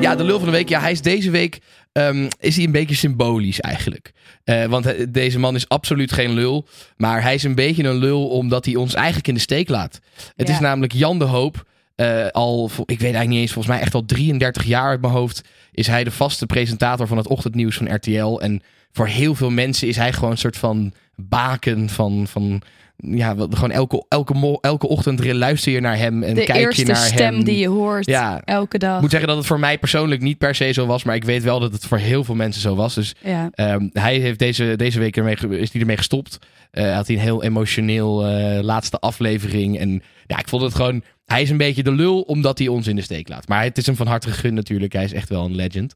[SPEAKER 1] Ja, de lul van de week. Ja, hij is deze week ehm, is hij een beetje symbolisch eigenlijk. Eh, want eh, deze man is absoluut geen lul. Maar hij is een beetje een lul omdat hij ons eigenlijk in de steek laat. Het
[SPEAKER 2] Ja.
[SPEAKER 1] is namelijk Jan de Hoop. eh, al, vo- ik weet eigenlijk niet eens, volgens mij echt al 33 jaar uit mijn hoofd... is hij de vaste presentator van het ochtendnieuws van RTL. En voor heel veel mensen is hij gewoon een soort van baken van... van ja, wat- gewoon elke, elke, mo- elke ochtend luister je naar hem en
[SPEAKER 2] De
[SPEAKER 1] kijk je
[SPEAKER 2] eerste
[SPEAKER 1] naar
[SPEAKER 2] stem
[SPEAKER 1] hem.
[SPEAKER 2] die je hoort
[SPEAKER 1] Ja.
[SPEAKER 2] elke dag.
[SPEAKER 1] Ik moet zeggen dat het voor mij persoonlijk niet per se zo was. Maar ik weet wel dat het voor heel veel mensen zo was. Dus
[SPEAKER 2] Ja.
[SPEAKER 1] ehm, hij heeft deze, deze week ermee, ge- is hij ermee gestopt. Eh had hij een heel emotioneel eh, laatste aflevering. En ja, ik vond het gewoon... Hij is een beetje de lul omdat hij ons in de steek laat. Maar het is hem van harte gegund natuurlijk. Hij is echt wel een legend.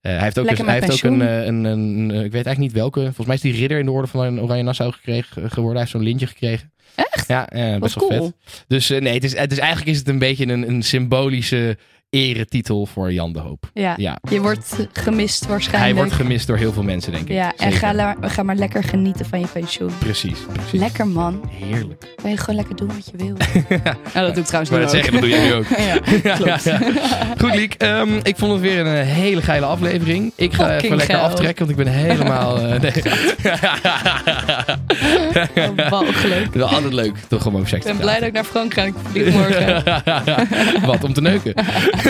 [SPEAKER 1] Eh, hij heeft ook,
[SPEAKER 2] Lekker
[SPEAKER 1] een, hij
[SPEAKER 2] met
[SPEAKER 1] heeft ook een,
[SPEAKER 2] pensioen.
[SPEAKER 1] eh, een, een, eh, Ik weet eigenlijk niet welke. Volgens mij is die ridder in de orde van Oranje Nassau gekregen, geworden. Hij heeft zo'n lintje gekregen.
[SPEAKER 2] Echt?
[SPEAKER 1] Ja, eh, best
[SPEAKER 2] Wat
[SPEAKER 1] wel
[SPEAKER 2] cool.
[SPEAKER 1] vet. Dus eh, nee, het is, het is, eigenlijk is het een beetje een, een symbolische eretitel voor Jan de Hoop.
[SPEAKER 2] Ja.
[SPEAKER 1] Ja.
[SPEAKER 2] je wordt gemist waarschijnlijk.
[SPEAKER 1] Hij wordt gemist door heel veel mensen, denk ik.
[SPEAKER 2] Ja, en
[SPEAKER 1] Zeker.
[SPEAKER 2] ga, la- ga maar lekker genieten van je pensioen.
[SPEAKER 1] Precies, precies.
[SPEAKER 2] Lekker man.
[SPEAKER 1] Heerlijk.
[SPEAKER 2] Kan je gewoon lekker doen wat je wil. nou, dat doe ik trouwens
[SPEAKER 1] Maar
[SPEAKER 2] nu
[SPEAKER 1] dat
[SPEAKER 2] ook.
[SPEAKER 1] zeggen, dat doe jij nu ook.
[SPEAKER 2] Ja.
[SPEAKER 1] Klopt. Goed, Liek. ehm, ik vond het weer een eh, hele geile aflevering. Ik ga
[SPEAKER 2] Fucking
[SPEAKER 1] even lekker
[SPEAKER 2] geil.
[SPEAKER 1] aftrekken, want ik ben helemaal... eh nee.
[SPEAKER 2] Walgelijk.
[SPEAKER 1] Wel altijd leuk, toch om over seks
[SPEAKER 2] Ik
[SPEAKER 1] te
[SPEAKER 2] ben blij dat ik naar Frankrijk vlieg morgen.
[SPEAKER 1] praten. Wat, om te neuken?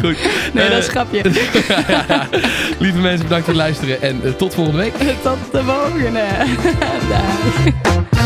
[SPEAKER 1] Goed.
[SPEAKER 2] Nee, dat is
[SPEAKER 1] Eh,
[SPEAKER 2] een grapje.
[SPEAKER 1] Lieve mensen, bedankt voor het luisteren en eh, tot volgende week.
[SPEAKER 2] Tot de volgende. Daag.